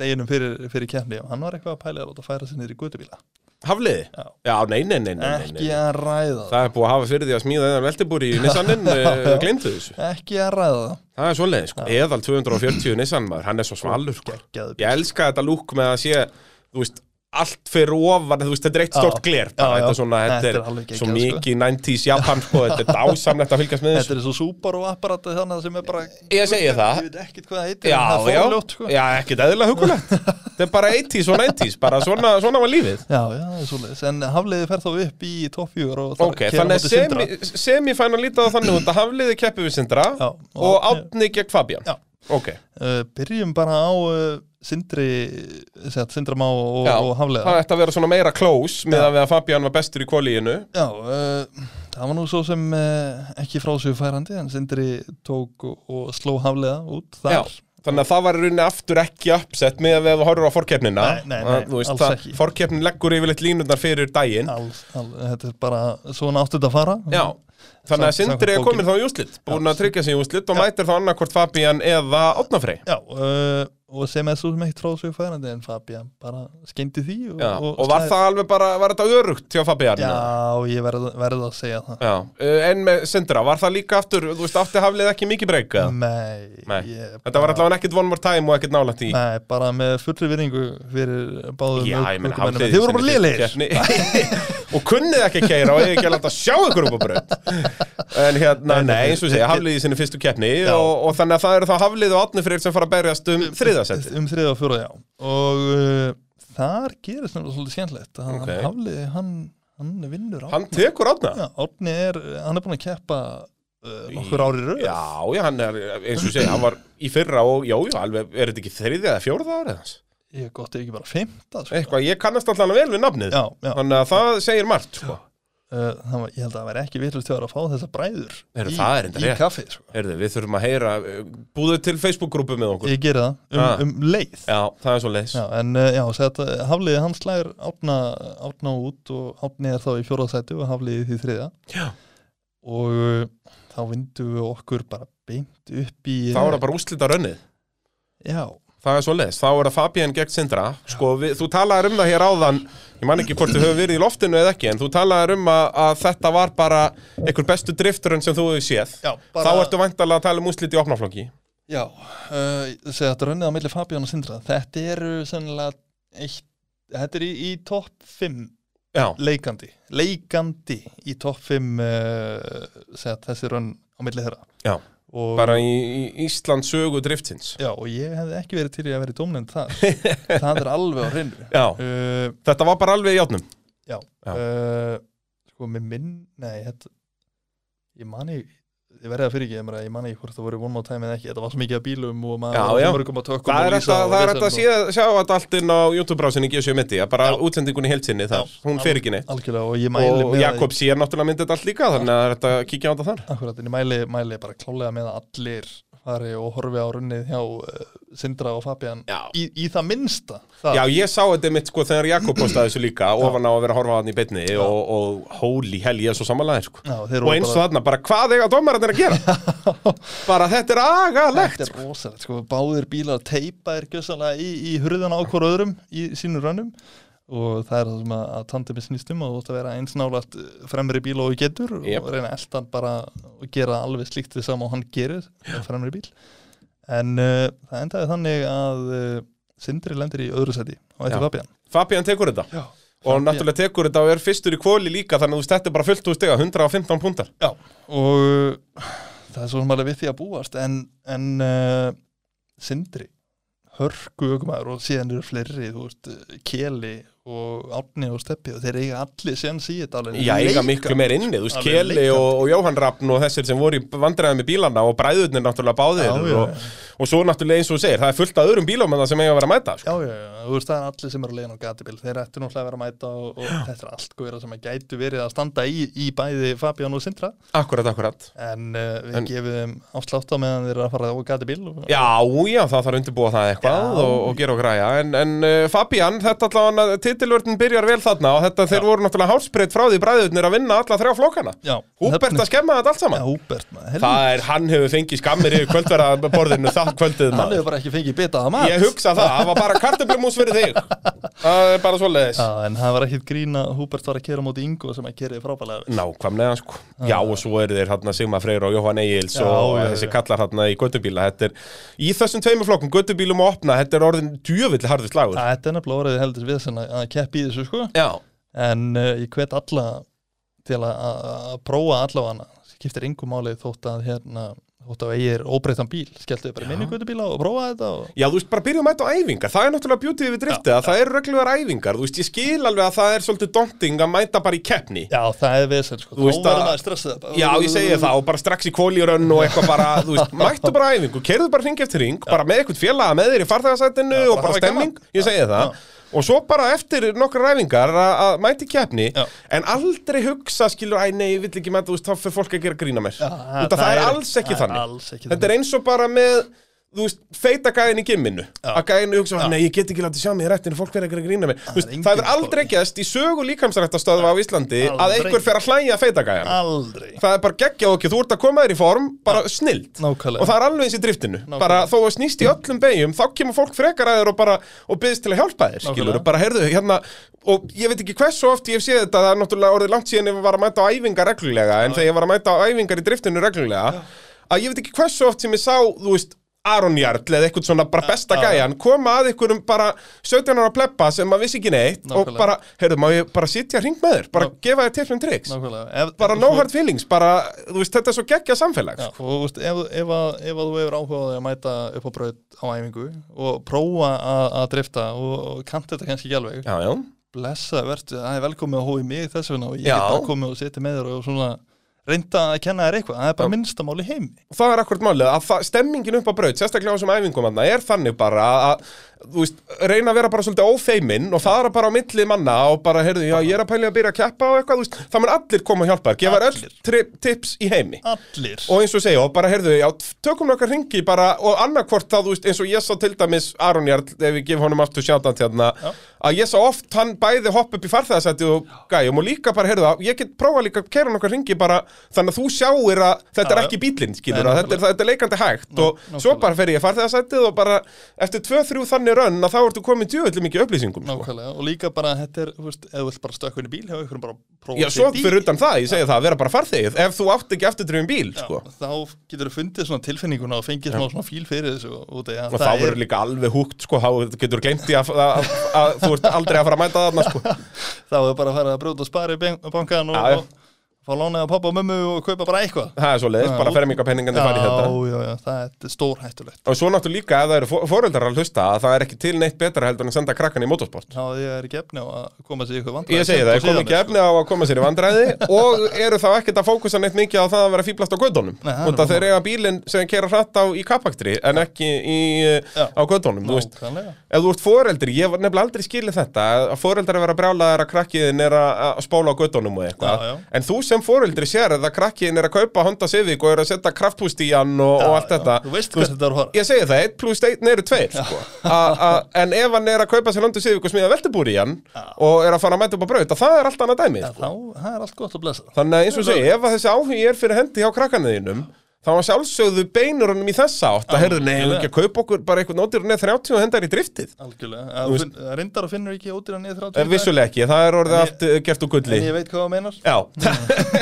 B: deginum fyrir, fyrir kemni og hann var eitthvað að pæla í að láta færa sér niður í gutubíla
A: Hafliði?
B: Já.
A: Já, nei, nei, nei, nei, nei, nei.
B: ekki að ræða það
A: Það er búið að hafa fyrir því að smíða þennan veltibúri í Nissanin,
B: Já.
A: glemdu þessu.
B: ekki að ræða það
A: Það er svoleiðis, sko. Eðal 240 Nissan maður, hann er svo svalur, sko.
B: geggjaðu
A: Ég elska þetta lúk með að sé þú veist, allt fyrir ofan þú veist, þetta er eitt
B: Já.
A: stort gler
B: Já,
A: bara,
B: já.
A: þetta er svona, þetta
B: Þetta er alveg
A: er
B: geggjað,
A: svo
B: sko.
A: mikið 90s Japan sko, þetta er dásamlegt að fylgjast með
B: Þetta
A: þessu
B: er svo súpar og apparat þannig sem er bara
A: Ég segi það.
B: Ég veit ekkert hvað það heitir
A: Já,
B: en það er
A: já,
B: forljótt, sko.
A: já, ekkert eðla hugulegt Þetta er bara 80s og 90s, bara svona, svona var lífið
B: já, já, það er svoleiðis En hafliði fer þá upp í toppjúr og þar
A: Ok,
B: keyrir hann
A: þannig
B: móti
A: að
B: Sindra.
A: semi, semifæna lítið á þannig út að hafliði keppi við Sindra
B: Já,
A: og,
B: og
A: og
B: Árni-
A: átni gegn Fabian
B: Já.
A: Ok,
B: Uh, byrjum bara á uh, Sindri segja, Sindra Má og,
A: já,
B: og Haflega
A: það ætti að vera svona meira close með að Fabian var bestur í kvalíinu
B: Já, uh, það var nú svo sem uh, ekki frásugfærandi en Sindri tók og, og sló Haflega út
A: Já,
B: þar
A: þannig að það var í rauninni aftur ekki uppsett með að við horfum á forkeppnina
B: Nei, nei, nei,
A: Að, þú
B: alls
A: það,
B: ekki.
A: Forkeppnin leggur yfirleitt línundar fyrir daginn
B: alls, alls, Þetta er bara svona áttu þetta að fara
A: Já, þannig að
B: Sam-
A: Sindri er
B: samkvæmt
A: komin þá í úslit búin að tryggja sig í úslit og mætir þá annarkvort Fabian eða Átnafrey
B: Já, uh, og sem er svo sem ekkert frásugfærandi en Fabian bara skeindi því og,
A: Já, og, var
B: slær-
A: það alveg bara, var þetta örugt hjá Fabian?
B: Já, ég verð, verð að segja það
A: Já, uh, en með Sindra, var það líka aftur, þú veist, átti haflið ekki mikið breyka?
B: Mm. Nei,
A: Nei,
B: ég
A: þetta var allavega ekkert one more time og ekkert nálægt í
B: Nei, bara með fullri virðingu fyrir báðum
A: Já, ég menn haflið
B: ökumönnum. Þeir voru bara lélegir
A: Og kunnið ekki að keira og ég ekki að láta sjá ykkur upp á braut En hérna,
B: Nei,
A: nei,
B: nei,
A: eins og segja,
B: þetta-
A: haflið í sinni fyrstu keppni
B: Já.
A: og, og þannig að það eru þá haflið og átni fyrir sem fara að berjast um þriðasetti
B: Um þriða og fjóra, já Og uh, þar gerist nefnilega svolítið skemmtlegt að
A: Ok.
B: okay. Hafliði, hann, hann vinnur á
A: Hann tekur átna
B: Já, Árni er, hann er búin að keppa uh, nokkur ári röð
A: Já, já, hann er, eins og segja, hann var í fyrra og, já, já, alveg, er þetta ekki þriðið eða fjórða árið hans?
B: Ég er gott ef ekki bara fymta sko.
A: Eitthvað, ég kannast alltaf vel við nafnið
B: Já, já uh,
A: Þannig að það segir margt, sko
B: Eh, það var, Ég held að það væri ekki vitlust að fá þessa bræður
A: Heyrðu,
B: í,
A: það er enda
B: í
A: rétt.
B: kaffi sko.
A: Heyrðu, við þurfum að heyra, eh, búðu til Facebook-grúpu með okkur
B: Ég geri það um,
A: Ah.
B: um leið
A: Já, það er svo leis
B: Já, en uh, já, sett, Hafliði hann slæðir átna, átna út og Átni er þá í fjóraðsættu og Hafliði því þriða
A: Já.
B: og uh, þá vindum við okkur bara beint upp í
A: Þá er það bara úslita rönnið
B: Já,
A: Það er svo leis, þá er það Fabian gegn Sindra Sko, við, þú talaðir um það hér áðan Ég man ekki hvort þú hefur verið í loftinu eða ekki En þú talaðir um að, að þetta var bara einhver bestu drifturinn sem þú hefur séð
B: já bara,
A: Þá ertu væntalega að tala um úslit í opnaflokki
B: Já, uh, segja þetta rönnið á milli Fabián og Sindra Þetta eru sennilega eitt, þetta er í, í topp 5
A: Já,
B: leikandi leikandi í topp 5 uh, segja þessi rönn á milli þeirra
A: Já.
B: og,
A: bara í, í Íslands sögu driftsins
B: Já, og ég hefði ekki verið til í að vera í dómnefnd þar Það er alveg á hreinu
A: Já,
B: uh,
A: þetta var bara alveg í játnum
B: Já,
A: Já.
B: Uh, Sko, með minn Nei, þetta Ég mani Ég verði að fyrir ekki að ég mani ekki hvort það voru one more time eða ekki Þetta var svo mikið af bílum og maður
A: Já,
B: var
A: já.
B: svo mörgum að tökum
A: Það
B: og
A: er
B: lýsa
A: þetta
B: og
A: það er
B: vesen
A: hægt að
B: og-
A: sé, sjá þetta allt inn á YouTube-brásinni G7 Media, bara
B: Já.
A: útsendingunni heilsinni þar,
B: Já,
A: hún fer ekki neitt
B: Algjörlega, og ég mæli
A: og
B: með
A: Jakob sér náttúrulega myndið þetta allt líka þannig að þetta kíkja á þetta þar
B: Akkurat, en ég mæli, mæli bara klálega með að allir fari og horfi á runnið hjá uh, Sindra og Fabian
A: Já.
B: í, í það minnsta það,
A: Já, ég sá þetta mitt sko þegar Jakob postaði þessu líka ofan á að vera að horfa á hann í beinni og, og holy hell, ég er svo samanlæðir sko.
B: Já, þeir
A: og
B: voru
A: eins og
B: bara-
A: þarna, bara hvað eiga dómararnir að gera? bara þetta er agalegt
B: Þetta er rosalegt, sko, báðir bílar teipa er gjössalega í, í hurðan á hver öðrum í sínu rönnum og það er það sem að, að tandemi snýst um og þú ætti að vera eins nálagt eh, fremri bíl og þú getur
A: Jep.
B: og reyna að elta hann bara og gera alveg slíkt því sama og hann gerir á fremri bíl en uh, það endaði þannig að uh, Sindri lendir í öðru seti og
A: Já.
B: eftir Fabian
A: Fabian tekur þetta
B: Já,
A: og náttúrulega tekur þetta og er fyrstur í kvóli líka þannig að þú stættir bara fullt úr stiga, 115 púntar
B: Já, og uh, það er svo sem alveg við því að búast en, en uh, Sindri hörku aukumæður og síðan eru fleiri, þú veist, uh, Keli og Árni og Steppi og þeir eiga allir síðan síðan alveg
A: Já, eiga
B: leikandi.
A: miklu meir inni, þú veist,
B: Alveg
A: Keli
B: leikandi.
A: og, og Jóhann Rappn og þessir sem voru í vandræðum með bílana og bræðurnir náttúrulega báðir
B: Já, já,
A: og, og svo náttúrulega eins og þú segir, það er fullt af öðrum bílum en það sem eiga að vera að mæta sko.
B: Já, já, já, þú veist, það er allir sem eru leiðin á gatibíl þeir ættu náttúrulega að vera að mæta og, og þetta er allt góðir sem að gætu verið að standa í, í bæði Fabian og Sindra
A: Akkurat, akkurat
B: en uh, við
A: En-
B: gefum þeim afslátt á meðan þeir eru að fara á gatibíl og-
A: Já, já, það þarf að undirbúa það eitthvað
B: Já.
A: og, og gera og græja En, en uh, Fabian, þetta allavega, titilvörðin byrjar vel þarna og þetta, þeir voru náttúrulega hálsbreytt frá því bræðurnir að vinna alla þrjá flokkana
B: Já,
A: Húbert að
B: nefnir-
A: skemma þetta allt
B: Já,
A: saman
B: Húbert, maður, helvítið.
A: Það er, hann hefur fengið skammir yfir kvöldverðarborðinu það kvöldið
B: Hann
A: maður
B: hefur bara ekki fengið bitað að mat
A: Ég hugsa það, það var bara kartöflumús fyrir þig Það er bara svoleiðis
B: Já, en það var ekkit grín að Húbert var að kera móti Ingo sem að keraði frábælega við.
A: Nákvæmlega sko Já og svo eru þeir hérna Sigma Freyr og Jóhann Egils
B: Ah. Já,
A: og
B: já,
A: þessi
B: já.
A: kallar hérna í göttubíla Þetta er, í þessum tveimur flokkum, göttubílum og opna Þetta er orðin djöfill harður slagur
B: Að Þetta er nefnilega orðið heldur við sem að keppi í þessu sko
A: Já,
B: En uh, ég hvet alla til að, að, að prófa allavega hana skiptir Ingo máli þótt að hérna þótt að ég er óbreytan bíl skelltu bara í minni guttubíla og prófa þetta og
A: já þú veist bara byrjum að mæta á æfingar Það er náttúrulega bjútið við driftið að það eru reglugar æfingar Þú veist ég skil alveg að það er svolítið daunting að mæta bara í keppni
B: Já, það er vesel sko,
A: Þú
B: þá
A: veist
B: verður
A: að-
B: maður stressað bara.
A: Já, ég segi það og bara strax í kóljurönn og eitthvað bara, þú veist, mættu bara á æfingu, kerðu bara hring eftir hring, bara með eitthvað félaga með þér í farþegarsætinu
B: Já, bara
A: og bara
B: hafa
A: stemming,
B: gaman.
A: ég segi það. Og svo bara eftir nokkra ræfingar að að mæti keppni,
B: Já.
A: en aldrei hugsa, skilur, æ, nei, ég vill ekki mæta, þú veist, þá fyrir fólk að gera grína mér.
B: Já,
A: Út að það er alls ekki
B: það er
A: þannig.
B: alls ekki
A: Þetta er eins og bara með, þú veist, feita gæðin í gimminu. Að gæðinu hugsa, nei, ég get ekki látið sjá mig í rættinu, fólk verið að gera grína mér. Þú veist,
B: engin
A: Það hefur aldrei gæðst í sögu líkamsrættastöðva á Íslandi að
B: Aldrei.
A: einhver fer að hlæja feita gæðan
B: Aldrei
A: það er bara geggjað okkur, þú ert að koma þér í form bara ja. snilt
B: Nákvæmlega
A: og það er alveg eins í driftinu bara þó að snýst í öllum beigum þá kemur fólk frekar að þér og bara og byggðist til að hjálpa þér skilur,
B: Nákvæmlega.
A: bara heyrðu hérna og ég veit ekki hversu oft ég hef séð þetta það er náttúrulega orðið langt síðan ef ég var að mæta á æfingar reglulega en þegar ég var að mæta á æfingar í driftinu reglulega að ég veit ekki hversu oft sem ég sá, þú veist Aron Jarl eða eitthvað svona bara besta gæjan koma að einhverjum bara 17 ára pleppa sem maður vissi ekki neitt og
B: Nákvæmlega.
A: bara, heyrðu, má ég bara sitja hring með þér bara
B: Ná-
A: gefa þér tifflum triks
B: Nákvæmlega Ef-
A: bara
B: svo-
A: no hard feelings, bara, þú veist, þetta er svo geggja samfélag
B: Já, og Sko, þú veist, ef, ef, að, ef að þú hefur áhuga á því að mæta upp á braut á æfingu og prófa að, að drifta og, og kannt þetta kannski ekki alveg,
A: já, já,
B: blessa verður, það er velkomið að hói mig þess vegna og ég
A: Já.
B: get bara komið og setja með þér og svona reynda að kenna þér eitthvað, það er bara
A: Já.
B: minnstamáli heimi.
A: og það er akkurat málið að það- stemmingin upp á braut, sérstaklega á þessum æfingum þarna, er þannig bara að, að, þú veist, reyna að vera bara svolítið ófeiminn og það er bara á milli manna og bara, heyrðu, já, ég er að pæli að byrja að keppa og eitthvað, þú veist, það mun allir koma og hjálpa þér, gefa þér öll
B: Allir.
A: tri- tips í heimi
B: Allir.
A: og eins og segja, og bara heyrðu, já, tökum nokkar hringi bara, og annarkvort þá, þú veist, eins og ég sá til dæmis Aron Jarl, ef ég gef honum aftur sjátan til hérna,
B: Já.
A: að ég sá oft hann bæði hopp upp í farþæðasætti og gæjum og líka bara, heyrðu, ég get prófa líka að kæra nokkar hringi bara, þannig að þú sjáir að þetta er
B: Já, já.
A: ekki bílinn, skilur,
B: Nei,
A: að þetta er, þetta er leikandi hægt og svo
B: nákvæmlega.
A: bara fer ég í farþæðasættið og bara eftir 2-3 þannig rönn að þá ertu komin djöðlega mikið upplýsingum, sko.
B: Nákvæmlega, og líka bara, þetta er, þú veist, ef þú vilt bara stökkvinni bíl, hefur ykkur bara prófa
A: Já, svo fyrir utan það, ég segi það, að vera bara farþegið, ef þú átt ekki eftirdrifin bíl, sko.
B: Þá getur þú fundið svona tilfinninguna og fengið smá svona fíl fyrir þessu og, og það,
A: og þá verður líka alveg húgt sko, þá getur glemt því að, að, að þú ert aldrei að fara að mæta þarna sko.
B: þá er bara að fara að brjóta spari bankan og,
A: Já, já.
B: og fá lánað að pappa og mömmu og kaupa bara eitthvað
A: það er svo leiðis, bara fermingapenningan þið farið þetta
B: já, já, það er stórhættulegt
A: og svo náttúrulega líka ef það eru fó- foreldrar að hlusta að það er ekki til neitt betra heldur en að senda krakkan í motorsport
B: þá er ég ekki efni á að koma sér í eitthvað vandræði
A: Ég segi það, ég kom ekki efni á að koma sér í vandræði og eru þá ekkert að fókusa neitt mikið á það að vera fýblast á gödunum
B: Nei, það er
A: og það þeir eiga bílinn sem keira hratt á í kapaktri en ekki í,
B: Já.
A: á gödunum þú veist,
B: nákvæmlega
A: Ef þú ert foreldri, ég hef nefnilega aldrei skilið þetta að foreldri að vera brjálaðar að krakkiðin er að að spóla á göttunum og
B: Já,
A: eitthvað
B: já.
A: en þú sem sem foreldri sér eða krakkin er að kaupa Honda Civic og er að setja kraftpúst í hann og, og allt þetta
B: Þú veist hvernig þetta er að fara
A: Ég segi það, 1 pluss 1 eru 2 sko. A- a- En ef hann er að kaupa sér Honda Civic og smíða veltubúri í hann og er að fara að mæta upp á braut, að það er allt annað dæmi
B: Já,
A: sko.
B: Þá það er allt gott að blessa
A: Þannig að eins og segi, ef að þessi áhugi er fyrir hendi hjá krakkanuðinum þá var sjálfsögðu beinur honum í þessa átt að heyrðu, nei, hefur ekki að kaupa okkur bara eitthvað nótir neð 30 og hendar í driftið
B: Algjörlega, að, finn, að reyndar og finnur ekki ódýra niður
A: Eh,
B: 30
A: Vissulega ekki, það er orðið allt eh, gert úr gulli
B: En ég veit hvað það meinar
A: Já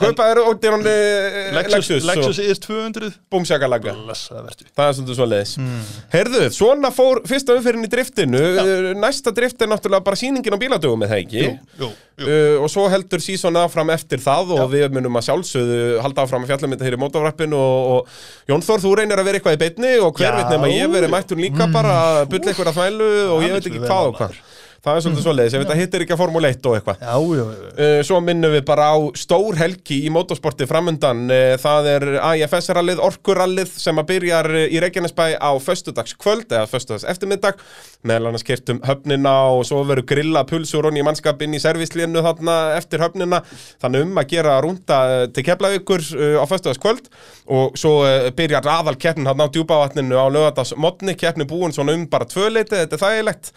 A: Kaupa eru ótir hann
B: Lexus,
A: Eh, Lexus og
B: Lexus ES200
A: búmsjakalaga
B: Blessa verður
A: Það er svolítið svoleiðis.
B: Mm.
A: Heyrðu, svona fór fyrsta umfyrin í driftinu, Eh, næsta drift er náttúrulega bara sýningin á bíladögum með það ekki?
B: Jú, jú
A: Uh, og svo heldur sísón áfram eftir það og við munum að sjálfsögðu halda áfram að fjalla með þetta hér í mótavrappinu og, og Jón Þór, þú reynir að vera eitthvað í beinni og hver
B: Já. Mm.
A: veit nema ég verið mættun líka bara að bulla eitthvað að þvælu og
B: Það
A: ég
B: vill
A: veit ekki
B: við
A: hvað
B: vel
A: og
B: á
A: hvað það er svolítið svoleiðis, ég veit að hittir ekki að formule 1 og eitthvað
B: Já, já, já, já.
A: Uh, Svo minnum við bara á stór helgi í motorsporti framundan Uh, Það er AIFS-rallið, Orkurallið sem að byrjar uh, í Reykjanesbæ á föstudagskvöld eða föstudags eftirmiddag meðal annars kertum höfnina og svo verður grilla pulsur onni í mannskapinn í servislénu þarna eftir höfnina þannig um að gera rúnda uh, til keflavíkur uh, á föstudagskvöld og svo uh, byrjar aðal keppnin þarna á djúpavatninu á lögadags modni keppni búin svona um bara tvöleiti, þetta er þægilegt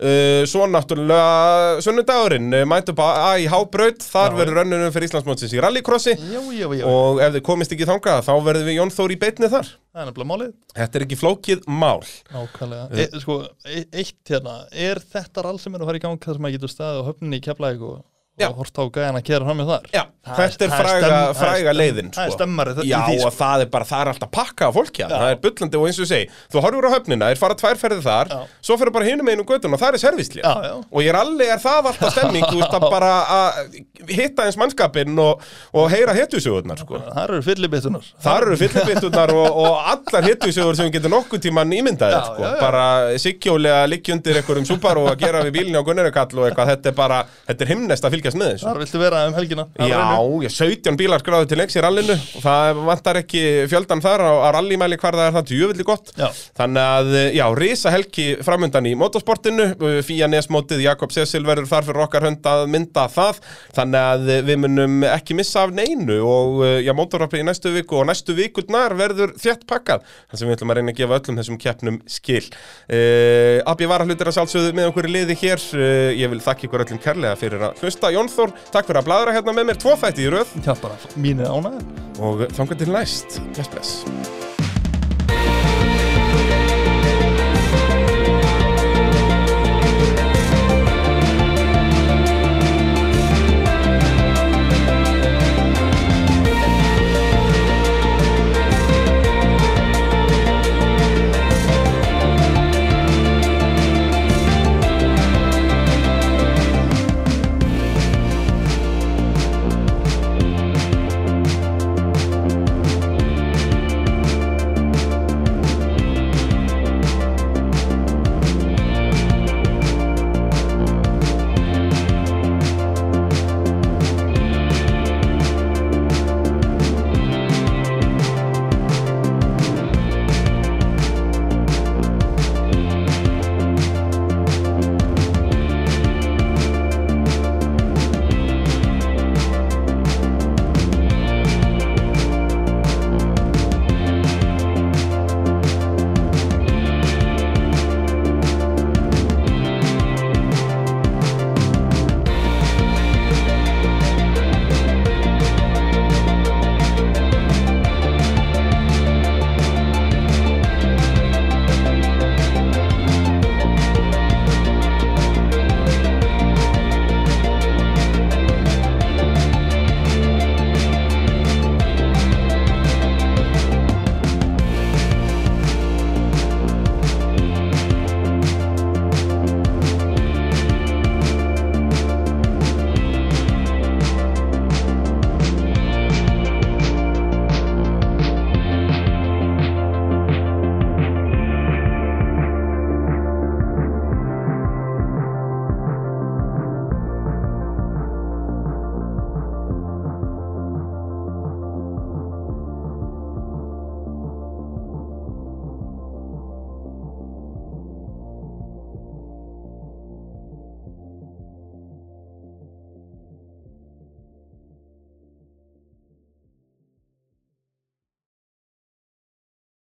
A: Uh, svo náttúrulega sunnudagurinn uh, mætu bara að í hábraut þar verður rönnunum fyrir Íslandsmótsins í rallycrossi
B: já, já, já.
A: og ef þið komist ekki þangað þá verðum við Jón Þór í beitni þar
B: Það er nefnilega málið
A: Þetta er ekki flókið mál
B: Nákvæmlega, e, sko, e, eitt hérna er þetta rall sem er að fara í gang þar sem maður getur staðið á höfninni í Keflæk og,
A: Já.
B: og hort á gæðan að kera fram með þar
A: Já,
B: Það
A: þetta er
B: það
A: fræga,
B: stem- það er
A: fræga
B: stem-
A: leiðin
B: Það er
A: sko.
B: stemmari þetta
A: Já,
B: í því
A: og
B: sko.
A: það er bara, það er alltaf pakka af fólki að
B: Já.
A: það er bullandi og eins og ég segi þú horfur á höfnina, þeir fara tvær ferðir þar
B: Já.
A: svo fyrir bara hinum einu göttun og það er servislið
B: Já, já.
A: og ég er allir, er það alltaf stemming þú veist að bara að hitta eins mannskapinn og, og heyra hettusögurnar sko.
B: Það eru fyllibittunar
A: Þar eru fyllibittunar og, og allar hittusögur sem getur nokkuð tíman ímyndaðir
B: Já,
A: sko.
B: já, já.
A: bara sikkjólega liggjundir einhverjum súpar og að gera við bílinni á Gunnarikall og eitthvað, þetta er bara, þetta er himnest að fylgjast með þessu
B: Þar viltu vera um helgina Það er
A: Já,
B: raunin.
A: ég 17 bílar skráðu til leiks í rallinu og það vantar ekki fjöldan þar á, á rallymæli hvar það er það tjöfulli gott
B: Já.
A: Þannig að, eh, já, risa helgi framundan í motorsportinu, uh, Fía Nesmótið Jakob Cecil verður þar fyrir okkar hönd að mynda það, þannig að uh, við munum ekki missa af neinu og uh, já, motorrappið í næstu viku og næstu vikurnar verður þjætt pakkað, þannig sem við ætlum að reyna að gefa öllum þessum keppnum skil uh, Abbi Varahlutir að sjálfsögðu með okkur í liði hér, uh, ég vil þakka ykkur öllum kærlega fyrir að hlusta, Jónþór takk fyrir að bladra hérna með mér, tvofætti í röð
B: Já, bara mínu ánæður
A: og þangar til næst, bless bless